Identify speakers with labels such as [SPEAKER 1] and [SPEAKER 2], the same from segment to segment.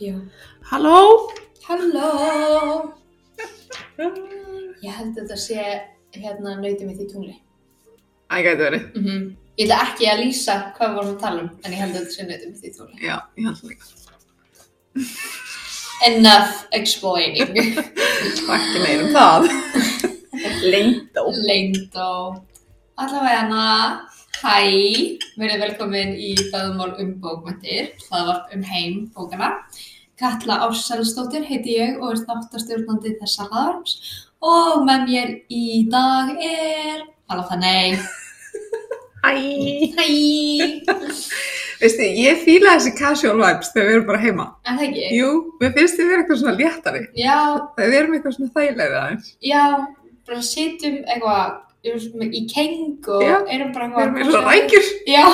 [SPEAKER 1] Já.
[SPEAKER 2] Halló?
[SPEAKER 1] Halló! Ég held að þetta sé hérna nauti mitt í tungli.
[SPEAKER 2] Það gæti verið.
[SPEAKER 1] Ég ætla ekki að lýsa hvað við vorum að tala um, en ég held að þetta sé nauti mitt í tungli.
[SPEAKER 2] Já, ég held það líka.
[SPEAKER 1] Enough explaining.
[SPEAKER 2] Ekki meir um það. Lindó.
[SPEAKER 1] Leindó. Allavega hana, hæ, verið velkomin í Böðumál um bókmyndir, það var um heim bókana. Katla Ársælsdóttir heiti ég og er þáttastjórnandi þessa hlaðarps og með mér í dag er Alafanei.
[SPEAKER 2] Æ.
[SPEAKER 1] Hæ!
[SPEAKER 2] Veistu, ég fíla þessi casual vibes þegar við erum bara heima.
[SPEAKER 1] Er það ekki?
[SPEAKER 2] Jú, mér finnst þið vera eitthvað svona léttari.
[SPEAKER 1] Já,
[SPEAKER 2] Þegar við erum eitthvað svona þægilegði aðeins.
[SPEAKER 1] já, bara sitjum eitthvað erum í keng og
[SPEAKER 2] Já,
[SPEAKER 1] erum bara
[SPEAKER 2] Við
[SPEAKER 1] eitthvað
[SPEAKER 2] erum eins og rækjur.
[SPEAKER 1] Já,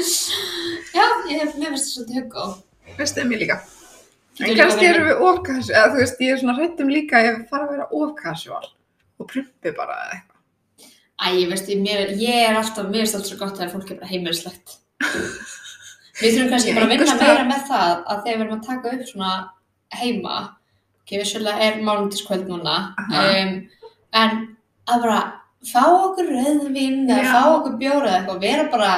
[SPEAKER 1] já, ég hef mér finnst það svolítið hugg á.
[SPEAKER 2] Veistu, en mér líka.
[SPEAKER 1] Getur
[SPEAKER 2] En
[SPEAKER 1] líka
[SPEAKER 2] kannski
[SPEAKER 1] verið-
[SPEAKER 2] erum við of casual, eða þú veist, ég er svona hrættum líka að ég fara að vera of casual og prumpi bara eða eitthvað.
[SPEAKER 1] Æ, ég veist, mér, ég er alltaf, mér finnst alltaf svo gott þegar fólk er bara heimilislegt. Við þurfum kannski
[SPEAKER 2] Já,
[SPEAKER 1] bara að vinna
[SPEAKER 2] einhvers staðar-
[SPEAKER 1] meira með það að þegar við erum að taka upp svona heima, ok, vissulega er mánundiskvöld núna,
[SPEAKER 2] Aha.
[SPEAKER 1] um, en að bara fá okkur rauðvinn eða
[SPEAKER 2] Já.
[SPEAKER 1] fá okkur bjóra eða eitthvað, vera bara,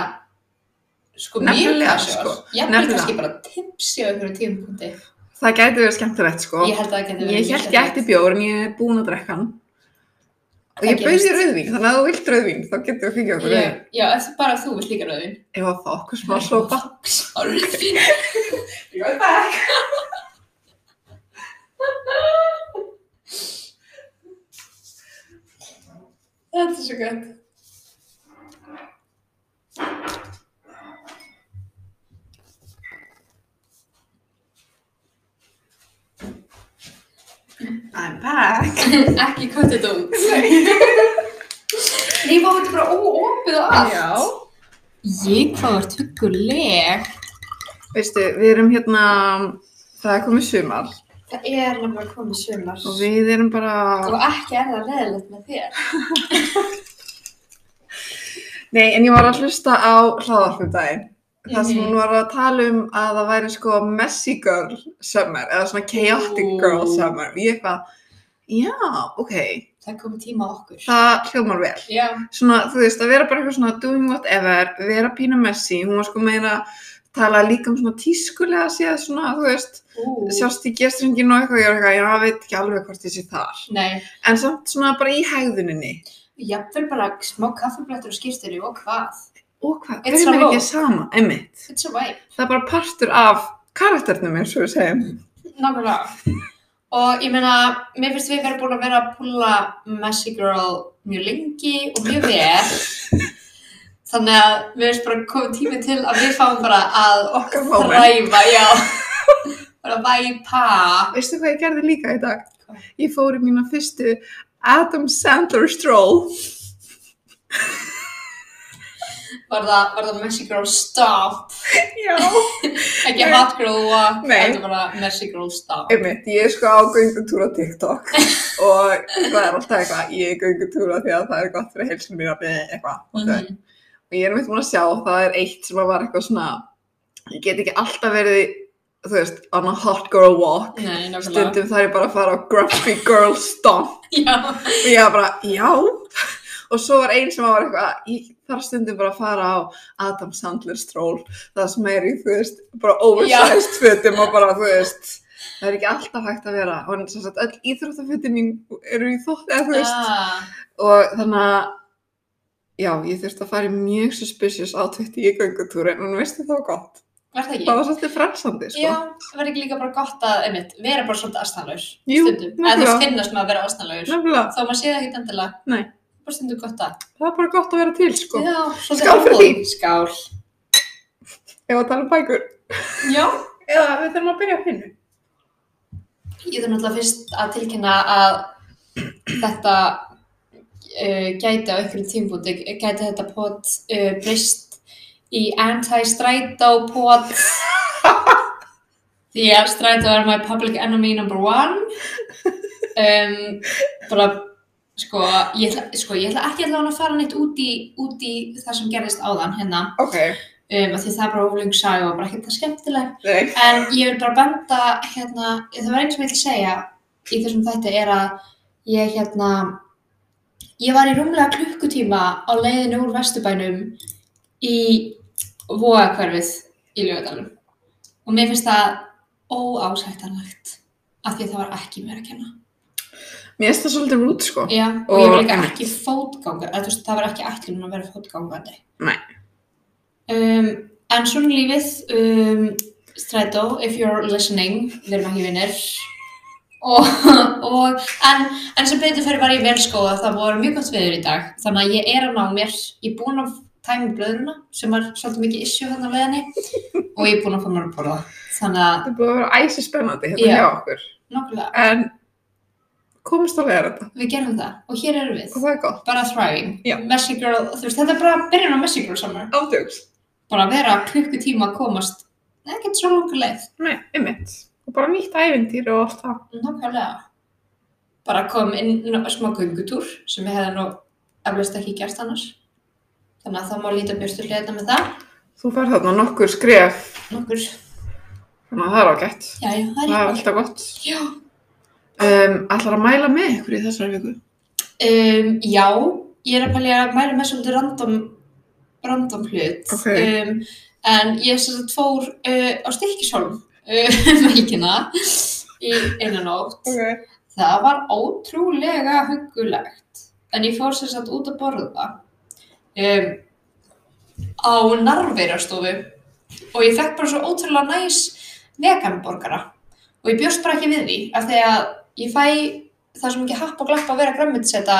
[SPEAKER 1] sko, mjög
[SPEAKER 2] Nefnilega,
[SPEAKER 1] kassjór.
[SPEAKER 2] sko,
[SPEAKER 1] Jafnvel
[SPEAKER 2] nefnilega.
[SPEAKER 1] kannski bara tipsi á einhverjum tímapunkti.
[SPEAKER 2] Það gæti verið skemmtilegt, sko.
[SPEAKER 1] Ég held að það getur
[SPEAKER 2] Ég held ég ætti bjór en ég er búin að drekka hann. Og
[SPEAKER 1] Það
[SPEAKER 2] ég bauð
[SPEAKER 1] gerist.
[SPEAKER 2] þér rauðvín, þannig að ef þú vilt rauðvín, þá getur við fengið okkur rauðvín.
[SPEAKER 1] Já, ef þú- bara þú vilt líka rauðvinn.
[SPEAKER 2] Ef að það okkur smá sopa.
[SPEAKER 1] Sorry.
[SPEAKER 2] Right back.
[SPEAKER 1] Þetta er svo gott.
[SPEAKER 2] I'm back.
[SPEAKER 1] Ekki cut it out. Nei, maður þetta bara óopið og allt.
[SPEAKER 2] Já.
[SPEAKER 1] Ég hvað var tugguleg.
[SPEAKER 2] Veistu, við erum hérna, það er komið sumar
[SPEAKER 1] Það er nefnilega komið sumar.
[SPEAKER 2] og við erum bara,
[SPEAKER 1] Og ekki er það leðilegt með þér.
[SPEAKER 2] nei en ég var að hlusta á hláðarfum daginn. Það sem
[SPEAKER 1] Mhm.
[SPEAKER 2] hún var að tala um að það væri sko messy girl summer eða svona chaotic
[SPEAKER 1] Ú.
[SPEAKER 2] girl summer. Ég eitthvað, já, ok,
[SPEAKER 1] Það komið tíma á okkur.
[SPEAKER 2] það hljómar vel.
[SPEAKER 1] Já.
[SPEAKER 2] svona, þú veist, að vera bara eitthvað svona doing whatever, vera pína messi, hún var sko meira að tala líka um svona tískulega séð svona, þú veist,
[SPEAKER 1] Ú.
[SPEAKER 2] sjást í gestringinu og eitthvað, ég er eitthvað, ég veit ekki alveg hvort ég sé þar.
[SPEAKER 1] Nei.
[SPEAKER 2] En samt svona bara í hægðuninni.
[SPEAKER 1] Jafnvel bara smá kaffiblættur og skýrstölu og hvað.
[SPEAKER 2] Og hvað,
[SPEAKER 1] It's
[SPEAKER 2] verðum
[SPEAKER 1] a
[SPEAKER 2] við ekki
[SPEAKER 1] vogue.
[SPEAKER 2] sama, einmitt.
[SPEAKER 1] It's a vibe.
[SPEAKER 2] Það er bara partur af karakternum eins og við segjum.
[SPEAKER 1] Nákvæmlega. Og ég meina, mér finnst við verið búin að vera að púla Messy Girl mjög lengi og mjög vel. Þannig að mér finnst bara komið tími til að við fáum bara að
[SPEAKER 2] Okkar moment.
[SPEAKER 1] þræfa, já. Bara væpa.
[SPEAKER 2] Veistu hvað ég gerði líka í dag?
[SPEAKER 1] Hvað?
[SPEAKER 2] Ég fór í mína fyrstu Adam Sandler stroll.
[SPEAKER 1] Var það, var það Messy Girl stop.
[SPEAKER 2] Já.
[SPEAKER 1] Ekki
[SPEAKER 2] Nei.
[SPEAKER 1] Hot Girl walk,
[SPEAKER 2] Nei.
[SPEAKER 1] þetta bara Messy Girl stop.
[SPEAKER 2] Einmitt, ég er sko á göngutúr á TikTok og það er alltaf eitthvað, ég er göngutúr af því að það er gott fyrir heilsum mér að beða eitthvað. Mm
[SPEAKER 1] Mhm.
[SPEAKER 2] Og ég er meitt múin að sjá, það er eitt sem að var eitthvað svona, ég get ekki alltaf verið, þú veist, on a hot girl walk.
[SPEAKER 1] Nei, nákvæmlega.
[SPEAKER 2] Stundum þarf ég bara að fara á grumpy girl stomp
[SPEAKER 1] Já.
[SPEAKER 2] og ég var bara, já. Og svo var einn sem var eitthvað, ég þarf stundum bara að fara á Adam Sandler stról, það sem er í, þú veist, bara oversized fötum og bara, þú veist, það er ekki alltaf hægt að vera. Og sem sagt, öll íþróttafötum mín eru í þótt, eða þú veist,
[SPEAKER 1] Ah,
[SPEAKER 2] og þannig að, já, ég þurfti að fara í mjög suspicious átvitt í göngutúrin, en veistu það var gott.
[SPEAKER 1] var það ekki?
[SPEAKER 2] Það var svolítið fransandi, sko.
[SPEAKER 1] Já, það verður ekki líka bara gott að, einmitt, vera bara svolítið aðstæðanlegur
[SPEAKER 2] Jú,
[SPEAKER 1] stundum. Eða
[SPEAKER 2] nefnilega.
[SPEAKER 1] þú finnast maður að vera aðstæðanlegur.
[SPEAKER 2] Nefnilega,
[SPEAKER 1] Þó maður sé það ekkert endilega.
[SPEAKER 2] Nei.
[SPEAKER 1] Bara stundum gott að.
[SPEAKER 2] það er bara gott að vera til, sko.
[SPEAKER 1] Já, svolítið
[SPEAKER 2] Skál fyrir
[SPEAKER 1] humble. Skál.
[SPEAKER 2] Ef að tala um bækur.
[SPEAKER 1] Já.
[SPEAKER 2] Eða við þurfum að byrja að finna.
[SPEAKER 1] Ég þarf náttúrulega fyrst að tilkynna að þetta uh, gæti á einhverjum tímbúti, gæti þetta pot uh, brist í anti-strætó pot. Því að strætó er my public enemy number one. Um, bara, sko, ég ætla, sko, ég ætla ekki allavega að fara neitt út í, út í það sem gerðist áðan hérna.
[SPEAKER 2] Ok.
[SPEAKER 1] um, af því það er bara oflung saga og bara ekkert það skemmtileg
[SPEAKER 2] Nei.
[SPEAKER 1] en ég vil bara benda hérna, það var eins sem ég vil segja í þessum þætti er að ég hérna ég var í rúmlega klukkutíma á leiðinu úr Vesturbænum í vóakverfið í Ljóðadalum og mér finnst það óásættanlegt af því að það var ekki mér að kenna
[SPEAKER 2] Mér finnst það svolítið rút, sko.
[SPEAKER 1] Já, og, ég var
[SPEAKER 2] Og
[SPEAKER 1] líka
[SPEAKER 2] einmitt.
[SPEAKER 1] ekki fótgangar eða, þú veist, það var ekki ætlunum að vera fótgangandi
[SPEAKER 2] Nei.
[SPEAKER 1] um, En svona lífið um, Strætó, if you're listening við erum ekki vinnir og, og en, en sem betur fyrir var ég vel skoða það voru mjög gott viður í dag þannig að ég er að ná mér, ég er búin að tæmi blöðuna sem var svolítið mikið issue hann á leiðinni og ég er búin að fá mér að borða þannig að
[SPEAKER 2] Þetta er búið að vera æsi spennandi hérna
[SPEAKER 1] Já.
[SPEAKER 2] hjá okkur.
[SPEAKER 1] nokkulega,
[SPEAKER 2] En komist alveg að þetta
[SPEAKER 1] við gerum það og hér erum við
[SPEAKER 2] og það er gott.
[SPEAKER 1] bara thriving,
[SPEAKER 2] Já.
[SPEAKER 1] Messi Girl þú veist, þetta er bara byrjun á Messi Girl summer
[SPEAKER 2] Ándjóks.
[SPEAKER 1] bara að vera klukkutíma að komast ekkert svo langar leið,
[SPEAKER 2] Nei, einmitt. Og bara nýtt ævintýri og allt það.
[SPEAKER 1] nákvæmlega bara kom inn á smá göngutúr sem ég hefði nú eflaust ekki gert annars þannig að það má líta björstu hliðina með það
[SPEAKER 2] Þú fær þarna nokkur skref,
[SPEAKER 1] nokkur,
[SPEAKER 2] þannig að það er ágætt.
[SPEAKER 1] já, já, það er
[SPEAKER 2] Það
[SPEAKER 1] eitthvað
[SPEAKER 2] er alltaf gott.
[SPEAKER 1] já,
[SPEAKER 2] Um, ætlar að mæla með ykkur í þessari viku?
[SPEAKER 1] um, já ég er að pælja að mæla með svolítið random random hlut
[SPEAKER 2] Ok.
[SPEAKER 1] um, en ég sem sagt fór uh, á Stykkishólm uh, mækina í einu nótt
[SPEAKER 2] Ok.
[SPEAKER 1] Það var ótrúlega hugulegt, en ég fór sér satt út að borða um, á narveirastofu og ég fekk bara svo ótrúlega næs veganborgara og ég bjóst bara ekki við því af því að ég fæ það sem ekki happ og glapp að vera grömminsetta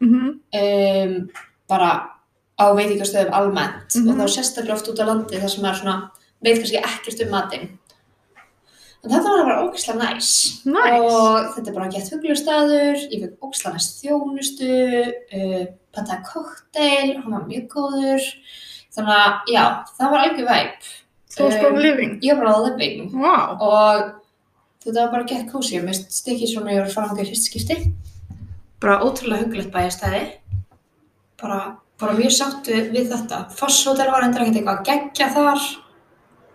[SPEAKER 2] Mm
[SPEAKER 1] um, bara á veitingastöðum almennt
[SPEAKER 2] Mhm.
[SPEAKER 1] og þá sérstaklega oft út á landi þar sem er svona, veit kannski ekkert um matinn. En þetta var bara ógeðslega næs
[SPEAKER 2] Nice.
[SPEAKER 1] og þetta er bara gett huglu staður, ég fekk ógeðslega næst þjónustu, uh, pantaði kokteil, hann var mjög góður, þannig að já, það var algjör væp.
[SPEAKER 2] Þú varst bara living.
[SPEAKER 1] Ég var bara living
[SPEAKER 2] Um, Vá. Wow.
[SPEAKER 1] og þetta var bara gett kósi, ég mist stikki svona ég var frá hangar fyrst skipti. Bara ótrúlega hugulegt bæjarstæði, bara, bara mjög sáttu við þetta. Fossótel var hendur ekkert eitthvað að gegja þar,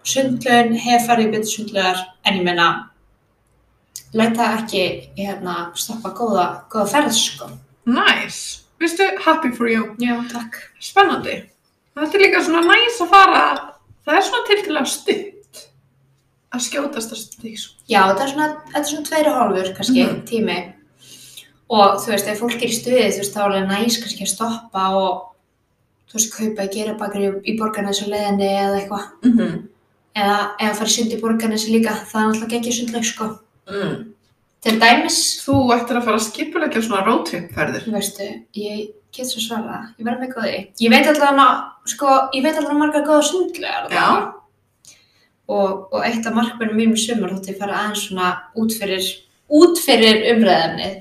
[SPEAKER 1] sundlun, hefar í byrju sundlunar, en ég meina, læta ekki hérna, stoppa góða, góða ferð, sko.
[SPEAKER 2] Nice. Vistu, happy for you.
[SPEAKER 1] Já, takk.
[SPEAKER 2] Spennandi. Þetta er líka svona næs að fara, það er svona tiltilega stutt að skjótast að stíks.
[SPEAKER 1] Já, þetta er svona, þetta er svona tveiri hálfur kannski,
[SPEAKER 2] Mhm.
[SPEAKER 1] tími. Og þú veist, ef fólk er í stuði, þú veist, þá er alveg næs kannski að stoppa og þú veist, kaupa í gerabakri í borgarnes og leiðinni eða eitthvað.
[SPEAKER 2] Mm -hmm.
[SPEAKER 1] Eða, eða fara í sund í borgarnes líka, það er náttúrulega ekki sundleg, sko.
[SPEAKER 2] mm.
[SPEAKER 1] Til dæmis,
[SPEAKER 2] Þú ættir að fara að skipulegja svona roadtrip-ferðir.
[SPEAKER 1] þú veistu, ég get svo svara, ég verð með góði. Ég veit allavega, ná- sko, ég veit allavega margar góða sundlegar.
[SPEAKER 2] Já.
[SPEAKER 1] Og, og eitt af markmennum mínum í sumar þótti ég fara aðeins svona út fyrir, út fyrir umræðefnið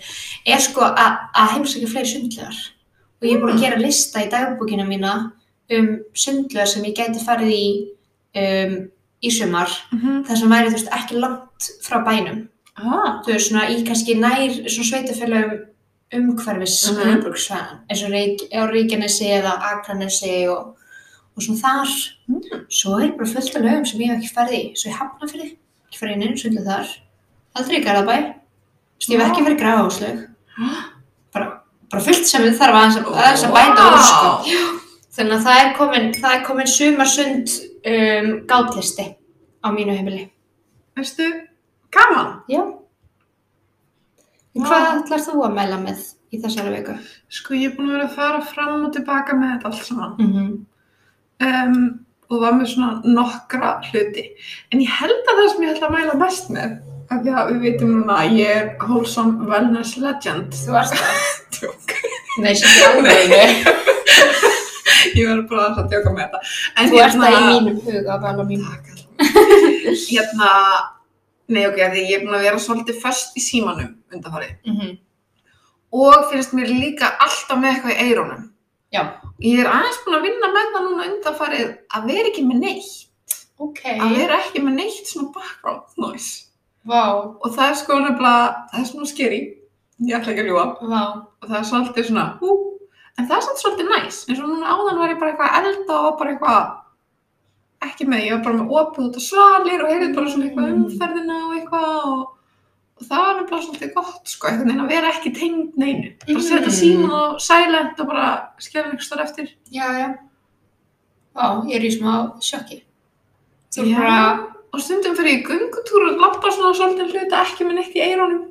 [SPEAKER 1] er sko að að heimsækja fleiri sundlegar og ég er búin að gera lista í dagbúkina mína um sundlegar sem ég gæti farið í um, í sumar
[SPEAKER 2] Mm -hmm.
[SPEAKER 1] þar sem væri þú veist ekki langt frá bænum
[SPEAKER 2] Ah,
[SPEAKER 1] þú veist svona í kannski nær svona sveitafélagum umhverfis mm
[SPEAKER 2] Mhm.
[SPEAKER 1] -hmm. eins og Reykj á Reykjanesi eða Akranesi og, og svona þar svo er bara fullt af lögum sem ég hef ekki farið í svo ég hafna fyrir, ekki farið í neinu sundlu þar aldrei í Garðabæ Þú veist, ég hef ekki farið í gráháslög bara, bara fullt sem þarf aðeins að, aðeins að bæta úr sko
[SPEAKER 2] Vá.
[SPEAKER 1] þannig að það er komin, það er komin sumarsund um, gátlisti á mínu heimili
[SPEAKER 2] Veistu, gaman.
[SPEAKER 1] já
[SPEAKER 2] Vá.
[SPEAKER 1] hvað ætlar þú að mæla með í þessari viku?
[SPEAKER 2] Sko, ég er búin að vera að fara fram og tilbaka með þetta allt saman.
[SPEAKER 1] Mm -hmm.
[SPEAKER 2] Um, og var með svona nokkra hluti. En ég held að það sem ég ætla að mæla mest með, af því að við veitum núna að ég er wholesome wellness legend.
[SPEAKER 1] þú varst það?
[SPEAKER 2] Tjók.
[SPEAKER 1] nei, sem ég alveg
[SPEAKER 2] Ég verður bara að djóka með þetta. En
[SPEAKER 1] þú ert það í mínum huga bara mín
[SPEAKER 2] Takk alveg. hérna, nei ok, af því ég er búin að vera svolítið föst í símanum undanfarið.
[SPEAKER 1] mm -hmm.
[SPEAKER 2] Og finnst mér líka alltaf með eitthvað í eirónum.
[SPEAKER 1] Já.
[SPEAKER 2] Ég er aðeins búin að vinna með það núna undanfarið að vera ekki með neitt.
[SPEAKER 1] ok,
[SPEAKER 2] Að vera ekki með neitt svona background noise.
[SPEAKER 1] vá
[SPEAKER 2] Og það er sko nefnilega, það er svona skeri. Ég ætla ekki að ljúa.
[SPEAKER 1] Vá,
[SPEAKER 2] og það er svolítið svona hú, en það er svolítið svolítið næs eins og núna áðan var ég bara eitthvað að elda og var bara eitthvað ekki með, ég var bara með opið út á svalir og heyrið bara svona eitthvað
[SPEAKER 1] Mm.
[SPEAKER 2] umferðina og eitthvað og, og það var bara svolítið gott sko, einhvern veginn að vera ekki tengd neinu bara setja
[SPEAKER 1] Mm.
[SPEAKER 2] síman á silent og bara skjæra einhvers þar eftir
[SPEAKER 1] Já, já. Vá, ég er í smá sjokki. Þú er
[SPEAKER 2] Já.
[SPEAKER 1] bara,
[SPEAKER 2] og stundum fyrir ég göngutúr og lappa svona svolítið hluta ekki með neitt í eirónum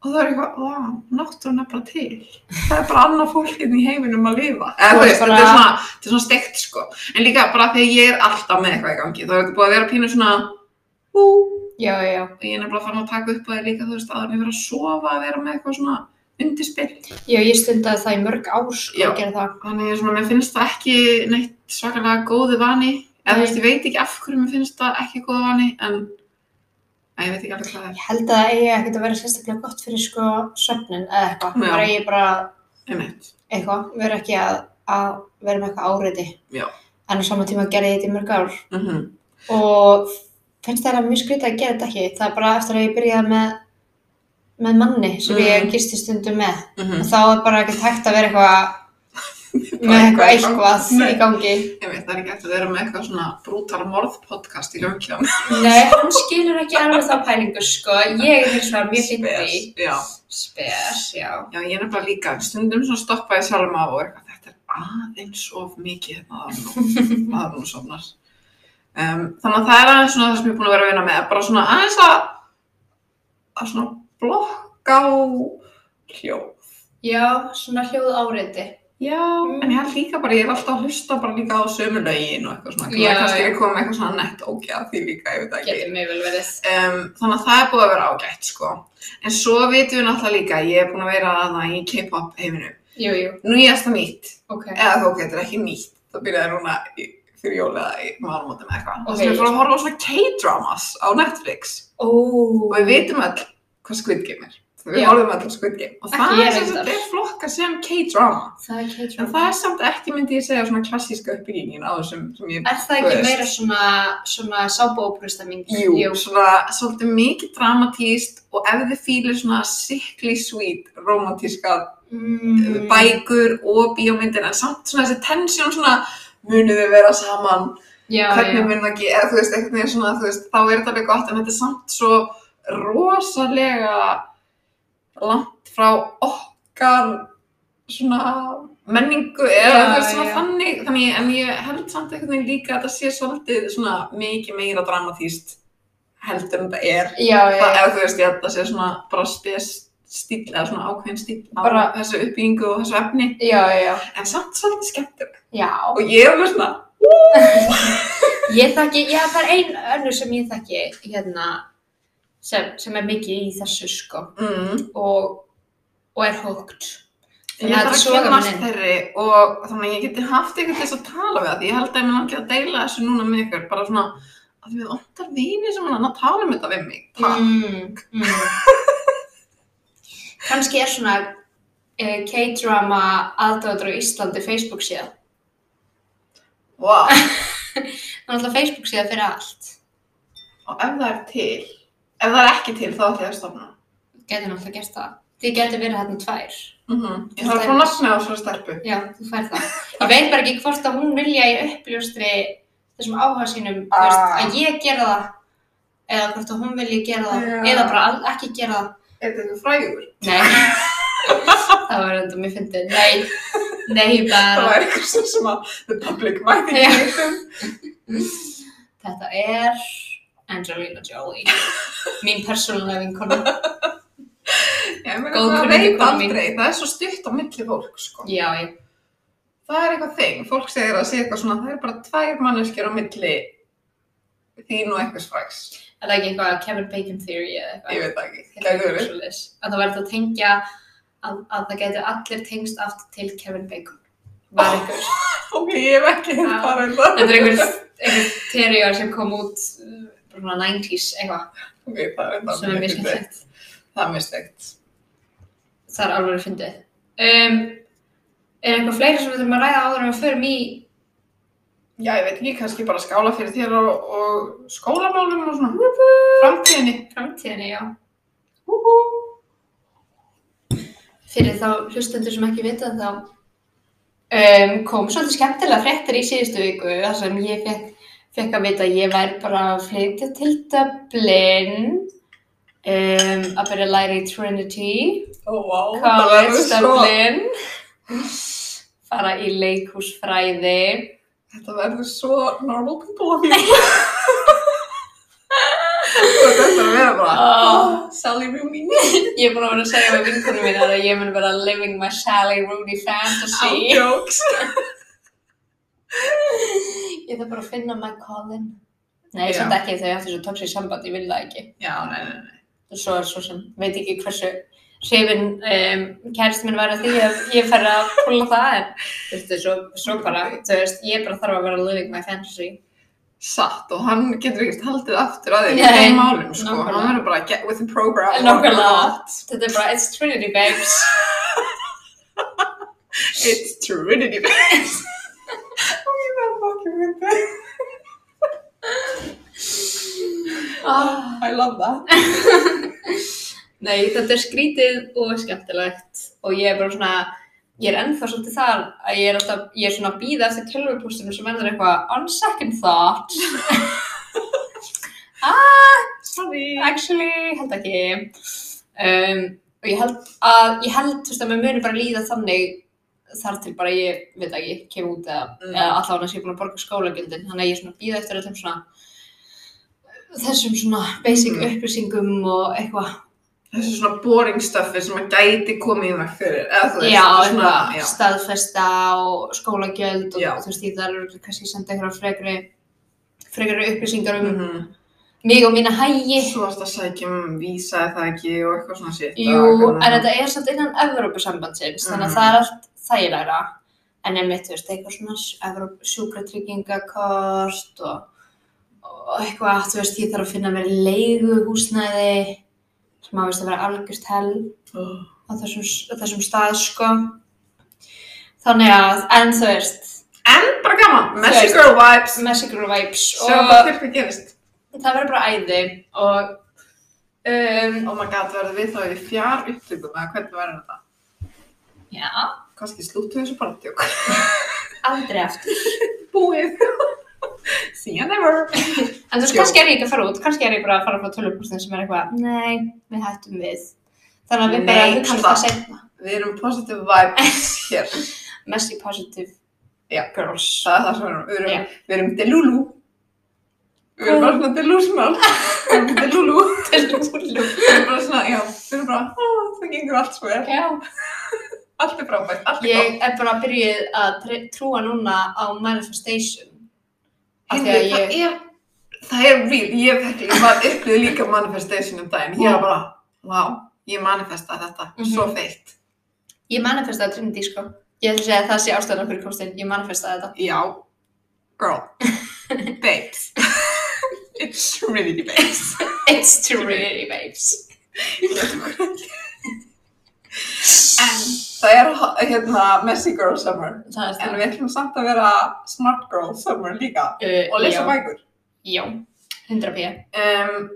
[SPEAKER 2] og það er eitthvað, vá, náttúrun er bara til það er bara annað fólkinn í heiminum að lifa eða
[SPEAKER 1] Þú
[SPEAKER 2] þú
[SPEAKER 1] er
[SPEAKER 2] veist,
[SPEAKER 1] bara-
[SPEAKER 2] þetta er svona, þetta er svona steikt sko en líka bara þegar ég er alltaf með eitthvað í gangi þá er þetta búið að vera pínu svona hú,
[SPEAKER 1] já, já, já.
[SPEAKER 2] og ég er nefnilega farin að taka upp á þér líka, þú veist, áður en ég verið að sofa að vera með eitthvað svona undirspill.
[SPEAKER 1] Já, ég stundaði það í mörg ár, sko,
[SPEAKER 2] Já.
[SPEAKER 1] að gera það.
[SPEAKER 2] Þannig að svona, mér finnst það ekki neitt svakalega góðu vani, eða þú
[SPEAKER 1] Nei.
[SPEAKER 2] veist, ég veit ekki af hverju mér finnst það ekki góðu vani, en að ég veit ekki alveg hvað það er.
[SPEAKER 1] Ég held að það eigi ekkert að vera sérstaklega gott fyrir, sko, söfnin eða eitthvað.
[SPEAKER 2] Já.
[SPEAKER 1] Bara ég bara,
[SPEAKER 2] En eitt.
[SPEAKER 1] eitthvað, vera ekki að, að vera með eitthvað áriði.
[SPEAKER 2] Já.
[SPEAKER 1] En á sama tíma gerði ég þetta í mörg ár.
[SPEAKER 2] Mm -hmm.
[SPEAKER 1] Og finnst það mjög skrítið að gera þetta ekki. Það er bara eftir að ég byrjaði með, með manni sem
[SPEAKER 2] Mm.
[SPEAKER 1] ég gisti stundum með.
[SPEAKER 2] Mm
[SPEAKER 1] Og þá er bara ekkert hægt að vera eitthvað með
[SPEAKER 2] eitthvað
[SPEAKER 1] eitthvað
[SPEAKER 2] í gangi.
[SPEAKER 1] eitthvað
[SPEAKER 2] Nei.
[SPEAKER 1] í gangi.
[SPEAKER 2] Ég veit, það er ekki eftir að vera með eitthvað svona brútal morðpodcast í löngkján.
[SPEAKER 1] Nei, hann skilur ekki alveg þá pælingu, sko. Ég er þess að mjög fyndi.
[SPEAKER 2] Já.
[SPEAKER 1] Spes, já.
[SPEAKER 2] Já, ég er nefnilega líka, stundum svona stoppaði sjálfum á og er eitthvað, þetta er aðeins of mikið hérna að nú, að nú sofnar. Um, þannig að það er aðeins svona það sem ég er búin að vera að vinna með, bara svona aðeins að, að svona blokka á hljóð.
[SPEAKER 1] Já, svona hljóð áriði.
[SPEAKER 2] Já, en ég held líka bara, ég er alltaf að hlusta bara líka á sömu lögin og eitthvað svona,
[SPEAKER 1] Já,
[SPEAKER 2] já, kannski
[SPEAKER 1] já.
[SPEAKER 2] er ég komið með eitthvað svona nett ógjað því líka, ég veit það ekki.
[SPEAKER 1] Getur mjög vel verið.
[SPEAKER 2] Um, þannig að það er búið að vera ágætt, sko. En svo vitum við náttúrulega líka, ég er búin að vera að í K-pop heiminum.
[SPEAKER 1] Jú, jú,
[SPEAKER 2] Nú ég erst það nýtt,
[SPEAKER 1] ok.
[SPEAKER 2] eða þú ok, þetta er ekki nýtt það byrjaði núna í, fyrir jól eða í málmóti með eitthvað
[SPEAKER 1] Ok.
[SPEAKER 2] okay. við fórum að horfa á svona K-dramas á Netflix
[SPEAKER 1] Ó.
[SPEAKER 2] og við vitum öll hvað Squid Game er við
[SPEAKER 1] Já.
[SPEAKER 2] horfum öll á Squid Game og
[SPEAKER 1] Ekki ég
[SPEAKER 2] það er sem
[SPEAKER 1] reyndar.
[SPEAKER 2] þetta er flokka sem K-drama
[SPEAKER 1] Það er
[SPEAKER 2] en
[SPEAKER 1] K-drama.
[SPEAKER 2] það er samt ekki myndi ég segja svona klassíska uppbyggingin á þessum sem ég
[SPEAKER 1] Er það ekki
[SPEAKER 2] Þú veist.
[SPEAKER 1] meira svona, svona sábóprústa mín?
[SPEAKER 2] Jú, svona svolítið mikið dramatíst og ef þið fýlir svona sickly sweet romantíska
[SPEAKER 1] Mm.
[SPEAKER 2] bækur og bíómyndir en samt svona þessi tension svona munið þið vera saman
[SPEAKER 1] Já,
[SPEAKER 2] hvernig
[SPEAKER 1] já.
[SPEAKER 2] mun það ekki, eða þú veist, einhvern veginn svona, þú veist, þá er þetta alveg gott, en þetta er samt svo rosalega langt frá okkar svona menningu, eða
[SPEAKER 1] Já,
[SPEAKER 2] þú veist, svona
[SPEAKER 1] já.
[SPEAKER 2] þannig, þannig, en ég held samt einhvern veginn líka að þetta sé svolítið svona mikið meira dramatíst heldur en þetta er,
[SPEAKER 1] Já, já,
[SPEAKER 2] það,
[SPEAKER 1] já.
[SPEAKER 2] eða þú veist, ég held að það sé svona bara spes stíl, eða svona ákveðin stíl á
[SPEAKER 1] Bara-
[SPEAKER 2] þessu uppbyggingu og þessu efni,
[SPEAKER 1] Já, já.
[SPEAKER 2] en samt svolítið skemmtileg,
[SPEAKER 1] Já.
[SPEAKER 2] og ég er með svona,
[SPEAKER 1] Ég þekki, já það er ein önnur sem ég þekki hérna sem, sem er mikið í þessu sko
[SPEAKER 2] mm,
[SPEAKER 1] og, og er hókt.
[SPEAKER 2] Ég
[SPEAKER 1] Þannig að
[SPEAKER 2] þarf
[SPEAKER 1] þetta
[SPEAKER 2] að
[SPEAKER 1] sogar mann
[SPEAKER 2] kynast
[SPEAKER 1] inn.
[SPEAKER 2] þeirri og þannig að ég geti haft eitthvað til þess að tala við það. Ég held að ég mun ekki að deila þessu núna með ykkur, bara svona að við vantar vini sem hann að tala um þetta við mig. Mm.
[SPEAKER 1] Mm, mm. Kanski er svona eh, K-drama aðdáður á Íslandi Facebook síða.
[SPEAKER 2] Wow.
[SPEAKER 1] Það er alltaf Facebook síða fyrir allt.
[SPEAKER 2] Og ef það er til, ef það er ekki til þá ætlum ég að stofna.
[SPEAKER 1] Getur náttúrulega gert það. Þið getur verið hérna tvær.
[SPEAKER 2] Mm Ég þarf að fá nafni á svona stelpu.
[SPEAKER 1] Já, þú fær það. Ég veit bara ekki hvort að hún vilja í uppljóstri þessum áhuga sínum, þú veist,
[SPEAKER 2] Ah.
[SPEAKER 1] að ég gera það eða hvort að hún vilja gera það
[SPEAKER 2] Já.
[SPEAKER 1] eða bara all, ekki gera það.
[SPEAKER 2] Er þetta eitthvað frægur?
[SPEAKER 1] Nei. það var enda mér fyndið. Nei. Nei,
[SPEAKER 2] Það
[SPEAKER 1] bara.
[SPEAKER 2] var eitthvað sem- sem að the public mæti
[SPEAKER 1] Já.
[SPEAKER 2] ekki veitum.
[SPEAKER 1] Þetta er Angelina Jolie, mín persónulega vinkona.
[SPEAKER 2] Ég meina
[SPEAKER 1] Góð
[SPEAKER 2] það
[SPEAKER 1] kunningi
[SPEAKER 2] veit
[SPEAKER 1] kona mín.
[SPEAKER 2] aldrei, það er svo stutt á milli fólk sko.
[SPEAKER 1] Já, ég,
[SPEAKER 2] það er eitthvað þing, fólk segir að sé eitthvað svona, það er bara tvær manneskjur á milli þín og eitthvað svæks.
[SPEAKER 1] er það ekki eitthvað Kevin Bacon theory eða eitthvað?
[SPEAKER 2] Ég veit það ekki,
[SPEAKER 1] Þetta er
[SPEAKER 2] gæti
[SPEAKER 1] eitthvað
[SPEAKER 2] verið.
[SPEAKER 1] svoleiðis. Að það verður að tengja að, að það getur allir tengst aftur til Kevin Bacon.
[SPEAKER 2] Ah.
[SPEAKER 1] Var einhver.
[SPEAKER 2] Ok, ég hef ekki
[SPEAKER 1] Já.
[SPEAKER 2] hérna bara um það.
[SPEAKER 1] Þetta er einhver, einhver teoríar sem kom út uh, bara svona 90s eitthvað
[SPEAKER 2] Ok, það er það
[SPEAKER 1] sem er mjög skemmtilegt.
[SPEAKER 2] Það er mjög steikt.
[SPEAKER 1] Það er alveg fyndið. Um, er eitthvað fleira sem við þurfum að ræða áður en við förum í
[SPEAKER 2] Já, ég veit ekki, kannski bara skála fyrir þér og, og skólamálum og svona. Framtíðinni.
[SPEAKER 1] framtíðinni, já?
[SPEAKER 2] Húhú.
[SPEAKER 1] fyrir þá hlustendur sem ekki vita þá um, kom svolítið skemmtilega fréttir í síðustu viku þar sem ég fekk fekk að vita að ég væri bara að flytja til Dublin um, að byrja að læra í Trinity
[SPEAKER 2] Ó, vá, það verður
[SPEAKER 1] College
[SPEAKER 2] svo,
[SPEAKER 1] Dublin fara í leikhúsfræði
[SPEAKER 2] þetta verður svo normal people of you. Þú ert eftir að vera bara,
[SPEAKER 1] Ah.
[SPEAKER 2] oh, Sally Rooney,
[SPEAKER 1] ég er búin að vera að segja með vinkunum mín að ég mun vera living my Sally Rooney
[SPEAKER 2] out
[SPEAKER 1] fantasy
[SPEAKER 2] jokes.
[SPEAKER 1] ég þarf bara að finna my Colin nei,
[SPEAKER 2] Já.
[SPEAKER 1] samt ekki þau áttu svo tóksið samband, ég vil það ekki
[SPEAKER 2] Já, nei, nei, nei.
[SPEAKER 1] og svo er svo sem, veit ekki hversu hrifin um, kærist minn var að því að ég fer að púla það en þú veist, svo, svo bara, þú veist, ég bara þarf að vera living my fantasy
[SPEAKER 2] Satt og hann getur ekkert haldið aftur að þig í
[SPEAKER 1] Nei,
[SPEAKER 2] þeim málum, sko.
[SPEAKER 1] nákvæmlega.
[SPEAKER 2] Hann verður bara get with the program.
[SPEAKER 1] Nákvæmlega. þetta er bara, it's Trinity babes
[SPEAKER 2] It's Trinity Base. oh, ég verður fucking with that.
[SPEAKER 1] ah.
[SPEAKER 2] I love that.
[SPEAKER 1] Nei, þetta er skrítið og skemmtilegt og ég er bara svona, ég er ennþá svolítið þar að ég er alltaf, ég er svona að býða eftir tölvupústunum sem verður eitthvað um on second thought.
[SPEAKER 2] Sorry.
[SPEAKER 1] Actually, held ekki. Um, og ég held að, ég held, þú veist, að mér muni bara líða þannig þar til bara ég, veit ekki, kem út eða,
[SPEAKER 2] Mm.
[SPEAKER 1] eða allavega þess að ég er búin að borga skólagjöldin, þannig að ég er svona að býða eftir öllum svona, þessum svona basic
[SPEAKER 2] Mm.
[SPEAKER 1] upplýsingum og eitthvað.
[SPEAKER 2] Þessu svona boring stuffi sem að gæti komið í vekk fyrir, eða þú veist,
[SPEAKER 1] Já,
[SPEAKER 2] þetta er svona,
[SPEAKER 1] eitthvað staðfesta og skólagjöld og
[SPEAKER 2] Já.
[SPEAKER 1] þú veist, ég þar eru kannski að senda eitthvað frekri, frekri upplýsingar um
[SPEAKER 2] Mm -hmm.
[SPEAKER 1] mig og mína hægi.
[SPEAKER 2] Svo varst að sækja um vísa eða það ekki og eitthvað svona shit.
[SPEAKER 1] Jú,
[SPEAKER 2] og eitthvað
[SPEAKER 1] en
[SPEAKER 2] svona.
[SPEAKER 1] þetta er samt innan Evrópusambandsins, þannig að
[SPEAKER 2] Mhm.
[SPEAKER 1] það er allt þægilegra. En einmitt, þú veist, eitthvað svona Evróp- sjúkratryggingakort og, og eitthvað, þú veist, ég þarf að finna mér leiguhúsnæði sem að veist að vera algjörst hell.
[SPEAKER 2] Oh.
[SPEAKER 1] á þessum, á þessum stað sko þannig að en þú veist
[SPEAKER 2] En bara gaman, messy
[SPEAKER 1] veist.
[SPEAKER 2] girl vibes,
[SPEAKER 1] Massacre Vibes
[SPEAKER 2] sjáum
[SPEAKER 1] og
[SPEAKER 2] bara til hvað gerist.
[SPEAKER 1] það verður bara æði og um,
[SPEAKER 2] Oh my god, verður við þá í fjár upptökum eða hvernig verður þetta?
[SPEAKER 1] já,
[SPEAKER 2] Kanski slúttu þessu bara tjók.
[SPEAKER 1] aldrei aftur
[SPEAKER 2] Búið. See you never.
[SPEAKER 1] en þú veist,
[SPEAKER 2] Jú.
[SPEAKER 1] kannski er ég ekki að fara út kannski er ég bara að fara frá tölvupústin sem er eitthvað nei, við hættum við þannig að við bara
[SPEAKER 2] Nei,
[SPEAKER 1] hugsa
[SPEAKER 2] það.
[SPEAKER 1] það segna
[SPEAKER 2] Við erum positive vibes hér.
[SPEAKER 1] Messi Positive
[SPEAKER 2] Já.
[SPEAKER 1] Girls
[SPEAKER 2] Það er það sem við erum. Við erum,
[SPEAKER 1] Já.
[SPEAKER 2] við erum delulu. Við erum bara svona delusional. Við erum delulu.
[SPEAKER 1] Tölvupústin
[SPEAKER 2] Við erum bara svona, já, við erum bara, "Ó, það gengur allt svo vel.
[SPEAKER 1] já
[SPEAKER 2] Allt er frábært, allt er gott.
[SPEAKER 1] Ég er bara að byrjuð að tr- trúa núna á manifestation af því að
[SPEAKER 2] Heyrðu,
[SPEAKER 1] ég-
[SPEAKER 2] það er, það er real. Ég hef ekki, maður upplýði líka manifestation um daginn. Ég var bara, wow, ég manifesta þetta, svo feitt.
[SPEAKER 1] ég manifestaði Trinity sko ég ætla að segja að það sé ástæðan okkur í komstinn ég manifestaði þetta
[SPEAKER 2] Já, girl, babes. It's really babes.
[SPEAKER 1] It's Trinity babes.
[SPEAKER 2] En það er, hérna, messy girl summer.
[SPEAKER 1] Það er
[SPEAKER 2] En
[SPEAKER 1] það.
[SPEAKER 2] við ætlum samt að vera smart girl summer líka.
[SPEAKER 1] Uh,
[SPEAKER 2] Og lesa
[SPEAKER 1] já.
[SPEAKER 2] bækur.
[SPEAKER 1] Já, 100 p.
[SPEAKER 2] Um,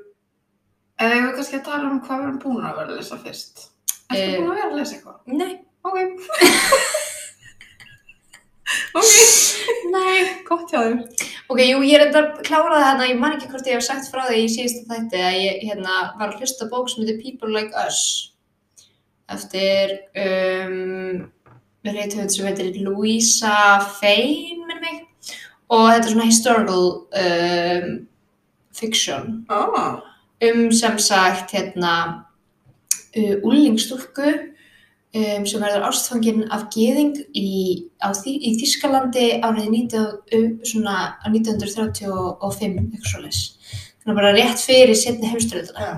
[SPEAKER 2] en eigum við kannski að tala um hvað við erum búin að vera að lesa fyrst? Erstu
[SPEAKER 1] Eh.
[SPEAKER 2] búin að vera að lesa eitthvað?
[SPEAKER 1] Nei.
[SPEAKER 2] Ok. ok,
[SPEAKER 1] Nei.
[SPEAKER 2] gott hjá þér.
[SPEAKER 1] Ok, jú, ég er enda að klára það hérna, ég man ekki hvort ég hef sagt frá því í síðustu þætti að ég hérna, var að hlusta á bók sem heitir People Like Us eftir um, reytuhund sem heitir Louisa Fein, minn mig og þetta er svona historical um, fiction
[SPEAKER 2] Ah,
[SPEAKER 1] um sem sagt hérna uh, úlingstúlku um, sem verður ástfangin af geðing í, á, Þý- í Þýskalandi árið 19, um, svona, á 1935 eitthvað svoleiðis. Þannig bara rétt fyrir setni heimsturðuna
[SPEAKER 2] Já.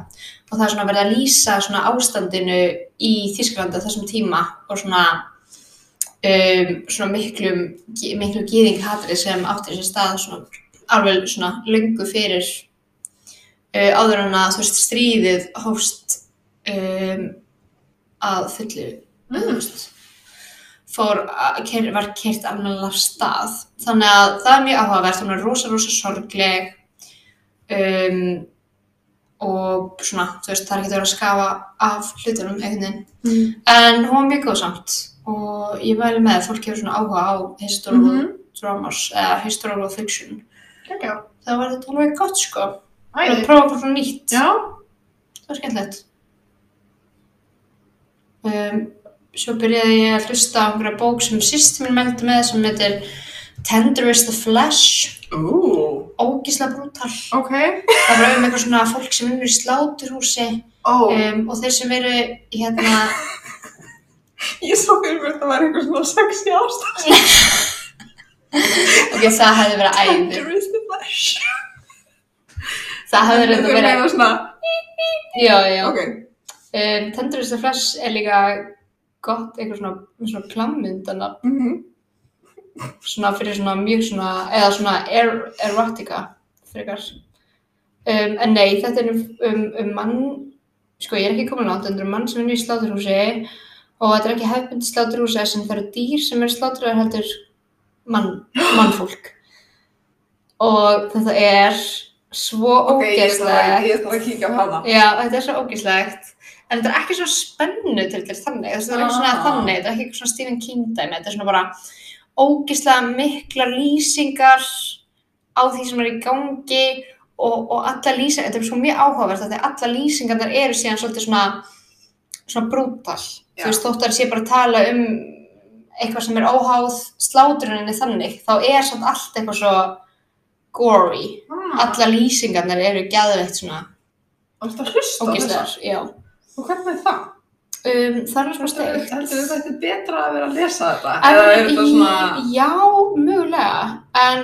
[SPEAKER 1] og það er svona verið að lýsa svona ástandinu í Þýskalandi á þessum tíma og svona um, svona miklum ge- miklu geðinghatri sem átti sér stað svona, alveg svona löngu fyrir uh, áður en að þú veist stríðið hófst um, að fullu
[SPEAKER 2] Mm.
[SPEAKER 1] þú veist, fór að, keir, var kert almennilega af stað þannig að það er mjög áhugavert hún er rosa rosa sorgleg um, og svona þú veist það er ekki að vera að skafa af hlutunum einhvern veginn
[SPEAKER 2] mm.
[SPEAKER 1] en hún var mjög góð samt og ég væri með að fólk hefur svona áhuga á historical
[SPEAKER 2] Mhm.
[SPEAKER 1] dramas eða historical fiction
[SPEAKER 2] geggjað.
[SPEAKER 1] það var þetta alveg gott sko. Ég var að
[SPEAKER 2] Æði.
[SPEAKER 1] prófa bara svona nýtt.
[SPEAKER 2] Já.
[SPEAKER 1] Það var skemmtilegt. Um, svo byrjaði ég að hlusta á einhverja bók sem sýsti minn meldi með sem heitir Tender is the Flesh.
[SPEAKER 2] Ú,
[SPEAKER 1] Ógislega brútal.
[SPEAKER 2] ok.
[SPEAKER 1] Það var um eitthvað svona fólk sem vinnur í sláturhúsi
[SPEAKER 2] Ó,
[SPEAKER 1] um, og þeir sem eru hérna...
[SPEAKER 2] ég svo fyrir mér að það var einhver svona sexy ástæð.
[SPEAKER 1] Ok, það hefði verið æði.
[SPEAKER 2] There is the flash.
[SPEAKER 1] Það hefði verið
[SPEAKER 2] Þau
[SPEAKER 1] verið...
[SPEAKER 2] meina svona,
[SPEAKER 1] Já, já.
[SPEAKER 2] ok.
[SPEAKER 1] Um, Tender is the Flesh er líka gott eitthvað svona, svona klammyndana
[SPEAKER 2] mhm.
[SPEAKER 1] svona fyrir svona mjög svona, eða svona er, erotika frekar. Um, en nei, þetta er um, um, um mann, sko ég er ekki komin langt, þetta er um mann sem vinnur í sláturhúsi og þetta er ekki hefbundi sláturhúsi sem það eru dýr sem eru sláturhúsi heldur mann, mannfólk. Og þetta er svo
[SPEAKER 2] Ok, ég er
[SPEAKER 1] ógeðslegt.
[SPEAKER 2] svona- ég er svona að kíkja á hana.
[SPEAKER 1] Já, þetta er svo ógíslegt. En þetta er ekki svona spennu til þess þannig, þess að þetta er ekki svona
[SPEAKER 2] Ah.
[SPEAKER 1] þannig, þetta er ekki svona Stephen King dæmi, þetta er svona bara ógíslega miklar lýsingar á því sem er í gangi og, og alla lýsingar, þetta er svo mjög áhugavert af því að alla lýsingar þar eru síðan svolítið svona, svona brútal.
[SPEAKER 2] Já.
[SPEAKER 1] Þú veist, þótt að sé bara að tala um eitthvað sem er óháð sláturinni þannig, þá er samt allt eitthvað svo gory.
[SPEAKER 2] Ah,
[SPEAKER 1] Alla lýsingarnar eru gæðveitt svona
[SPEAKER 2] og þetta hlusta á
[SPEAKER 1] ógíslegar,
[SPEAKER 2] þessar.
[SPEAKER 1] já.
[SPEAKER 2] Og hvernig er það?
[SPEAKER 1] Um, það er svona
[SPEAKER 2] Heldur
[SPEAKER 1] steikt.
[SPEAKER 2] þú þetta er betra að vera að lesa þetta?
[SPEAKER 1] En
[SPEAKER 2] Eða er þetta
[SPEAKER 1] í-
[SPEAKER 2] svona...
[SPEAKER 1] Já, mögulega, en,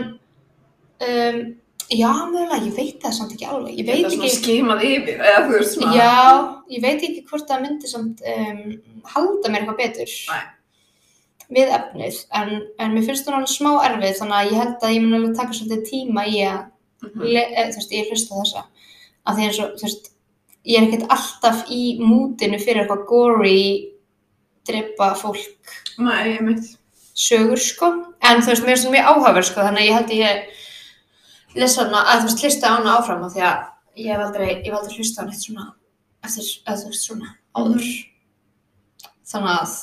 [SPEAKER 1] um, já, mögulega, ég veit það samt ekki alveg, ég veit
[SPEAKER 2] Þetta er svona
[SPEAKER 1] ekki,
[SPEAKER 2] skimað yfir, eða þú veist svona...
[SPEAKER 1] já, ég veit ekki hvort það myndi samt um, halda mér eitthvað betur
[SPEAKER 2] Nei.
[SPEAKER 1] við efnið, en, en mér finnst hún alveg smá erfið, þannig að ég held að ég mun alveg taka svolítið tíma í að,
[SPEAKER 2] Mhm.
[SPEAKER 1] le, e, þú veist, ég hlusta á þessa, af því eins og, þú veist, ég er ekkert alltaf í mútinu fyrir eitthvað gory, drepa fólk
[SPEAKER 2] Nei, ég mitt.
[SPEAKER 1] sögur sko, en þú veist, mér finnst hún mjög áhugaverð sko, þannig að ég held að ég lesa hana, að þú veist, hlusta á hana áfram af því að ég hef aldrei, ég hef aldrei hlusta á hana eitt svona, eftir, eða þú veist, svona áður þannig að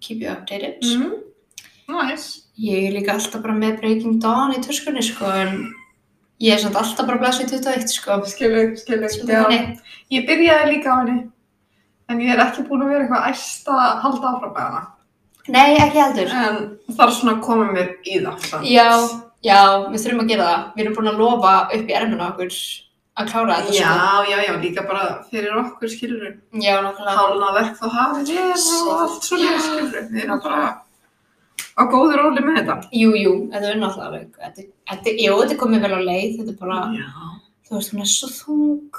[SPEAKER 1] keep you updated
[SPEAKER 2] Mm. Næs.
[SPEAKER 1] ég er líka alltaf bara með Breaking Dawn í törskunni sko, en ég er samt alltaf bara blæsið 21 sko
[SPEAKER 2] Skilur, skilur.
[SPEAKER 1] Svo
[SPEAKER 2] Já.
[SPEAKER 1] þannig,
[SPEAKER 2] Ég byrjaði líka á henni. En ég er ekki búin að vera eitthvað æst að halda áfram með hana.
[SPEAKER 1] nei, ekki heldur
[SPEAKER 2] En það er svona að koma mér í það. samt.
[SPEAKER 1] já, já, við þurfum að gera það við erum búin að lofa upp í ermina okkur að klára þetta
[SPEAKER 2] Já, já, já, líka bara fyrir okkur skilur.
[SPEAKER 1] sko já, nákvæmlega
[SPEAKER 2] Hálna verk þá hafið við og allt svona
[SPEAKER 1] Já.
[SPEAKER 2] skilur. Við erum bara á góður róli með þetta.
[SPEAKER 1] Jú, jú, þetta er náttúrulega alveg, þetta, þetta, jú, þetta er komið vel á leið, þetta er bara,
[SPEAKER 2] Já.
[SPEAKER 1] þú veist, hún er svo þung,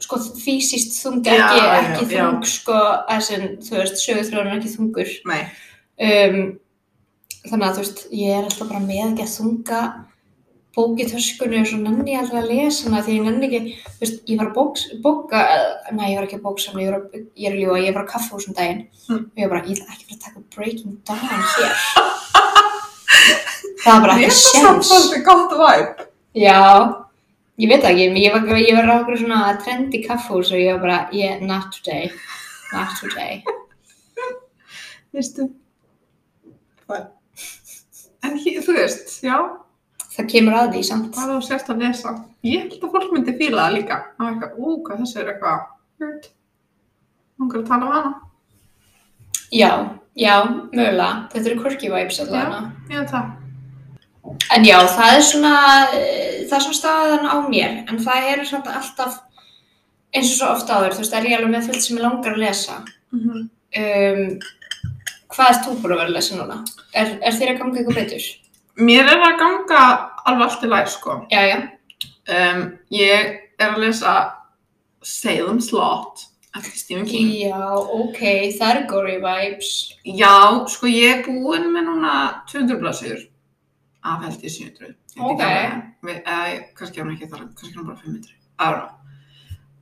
[SPEAKER 1] sko, fysiskt þung,
[SPEAKER 2] Já,
[SPEAKER 1] ekki,
[SPEAKER 2] já,
[SPEAKER 1] ekki
[SPEAKER 2] já.
[SPEAKER 1] þung, sko, þess en, þú veist, sögurþrjóðan er ekki þungur,
[SPEAKER 2] Nei.
[SPEAKER 1] um, þannig að, þú veist, ég er alltaf bara með ekki að þunga bók í töskunni og svo nenni ég aldrei að lesa hana því ég nenni ekki, þú veist, ég var að bóks, bóka, eh, nei, ég var ekki að bóksa hana, ég var að, ég er að ljúa, ég var að kaffa úr daginn
[SPEAKER 2] Hm.
[SPEAKER 1] og ég var bara, ég ætla ekki að fara að taka Breaking Dawn hér. Það var bara
[SPEAKER 2] Mér
[SPEAKER 1] ekki
[SPEAKER 2] finnst það samt
[SPEAKER 1] sjens.
[SPEAKER 2] svolítið gott væp.
[SPEAKER 1] Já, ég veit það ekki, ég var, ég var á okkur svona trendi kaffús og ég var bara, yeah, not today, not today.
[SPEAKER 2] Veistu? Það. En hér, þú veist, já,
[SPEAKER 1] Það kemur að því samt.
[SPEAKER 2] hvað þú sért að lesa. Ég held að fólk myndi fíla það líka. Það var eitthvað, ú, hvað þessi er eitthvað, hurt. Mungur að tala um hana.
[SPEAKER 1] Já, já, mögulega, þetta eru quirky vibes allavega.
[SPEAKER 2] Ég held það.
[SPEAKER 1] En já, það er svona, eh, það er svona staðan á mér, en það eru svona alltaf, eins og svo ofta áður, þú veist, er ég alveg með fullt sem ég langar að lesa.
[SPEAKER 2] Mm -hmm.
[SPEAKER 1] Um, hvað er þú búin að vera að lesa núna? Er, er þér að ganga eitthvað betur?
[SPEAKER 2] Mér er að ganga alveg allt í læg, sko.
[SPEAKER 1] Já, já,
[SPEAKER 2] Um, ég er að lesa Salem Slot eftir Stephen King.
[SPEAKER 1] já, ok, það eru gory vibes.
[SPEAKER 2] Já, sko, ég er búin með núna 200 blæsir af held ég 700. Ég veit ekki
[SPEAKER 1] Ok.
[SPEAKER 2] alveg. Við, eða, ég- kannski er hún ekki þar, kannski er hún bara 500. Ára.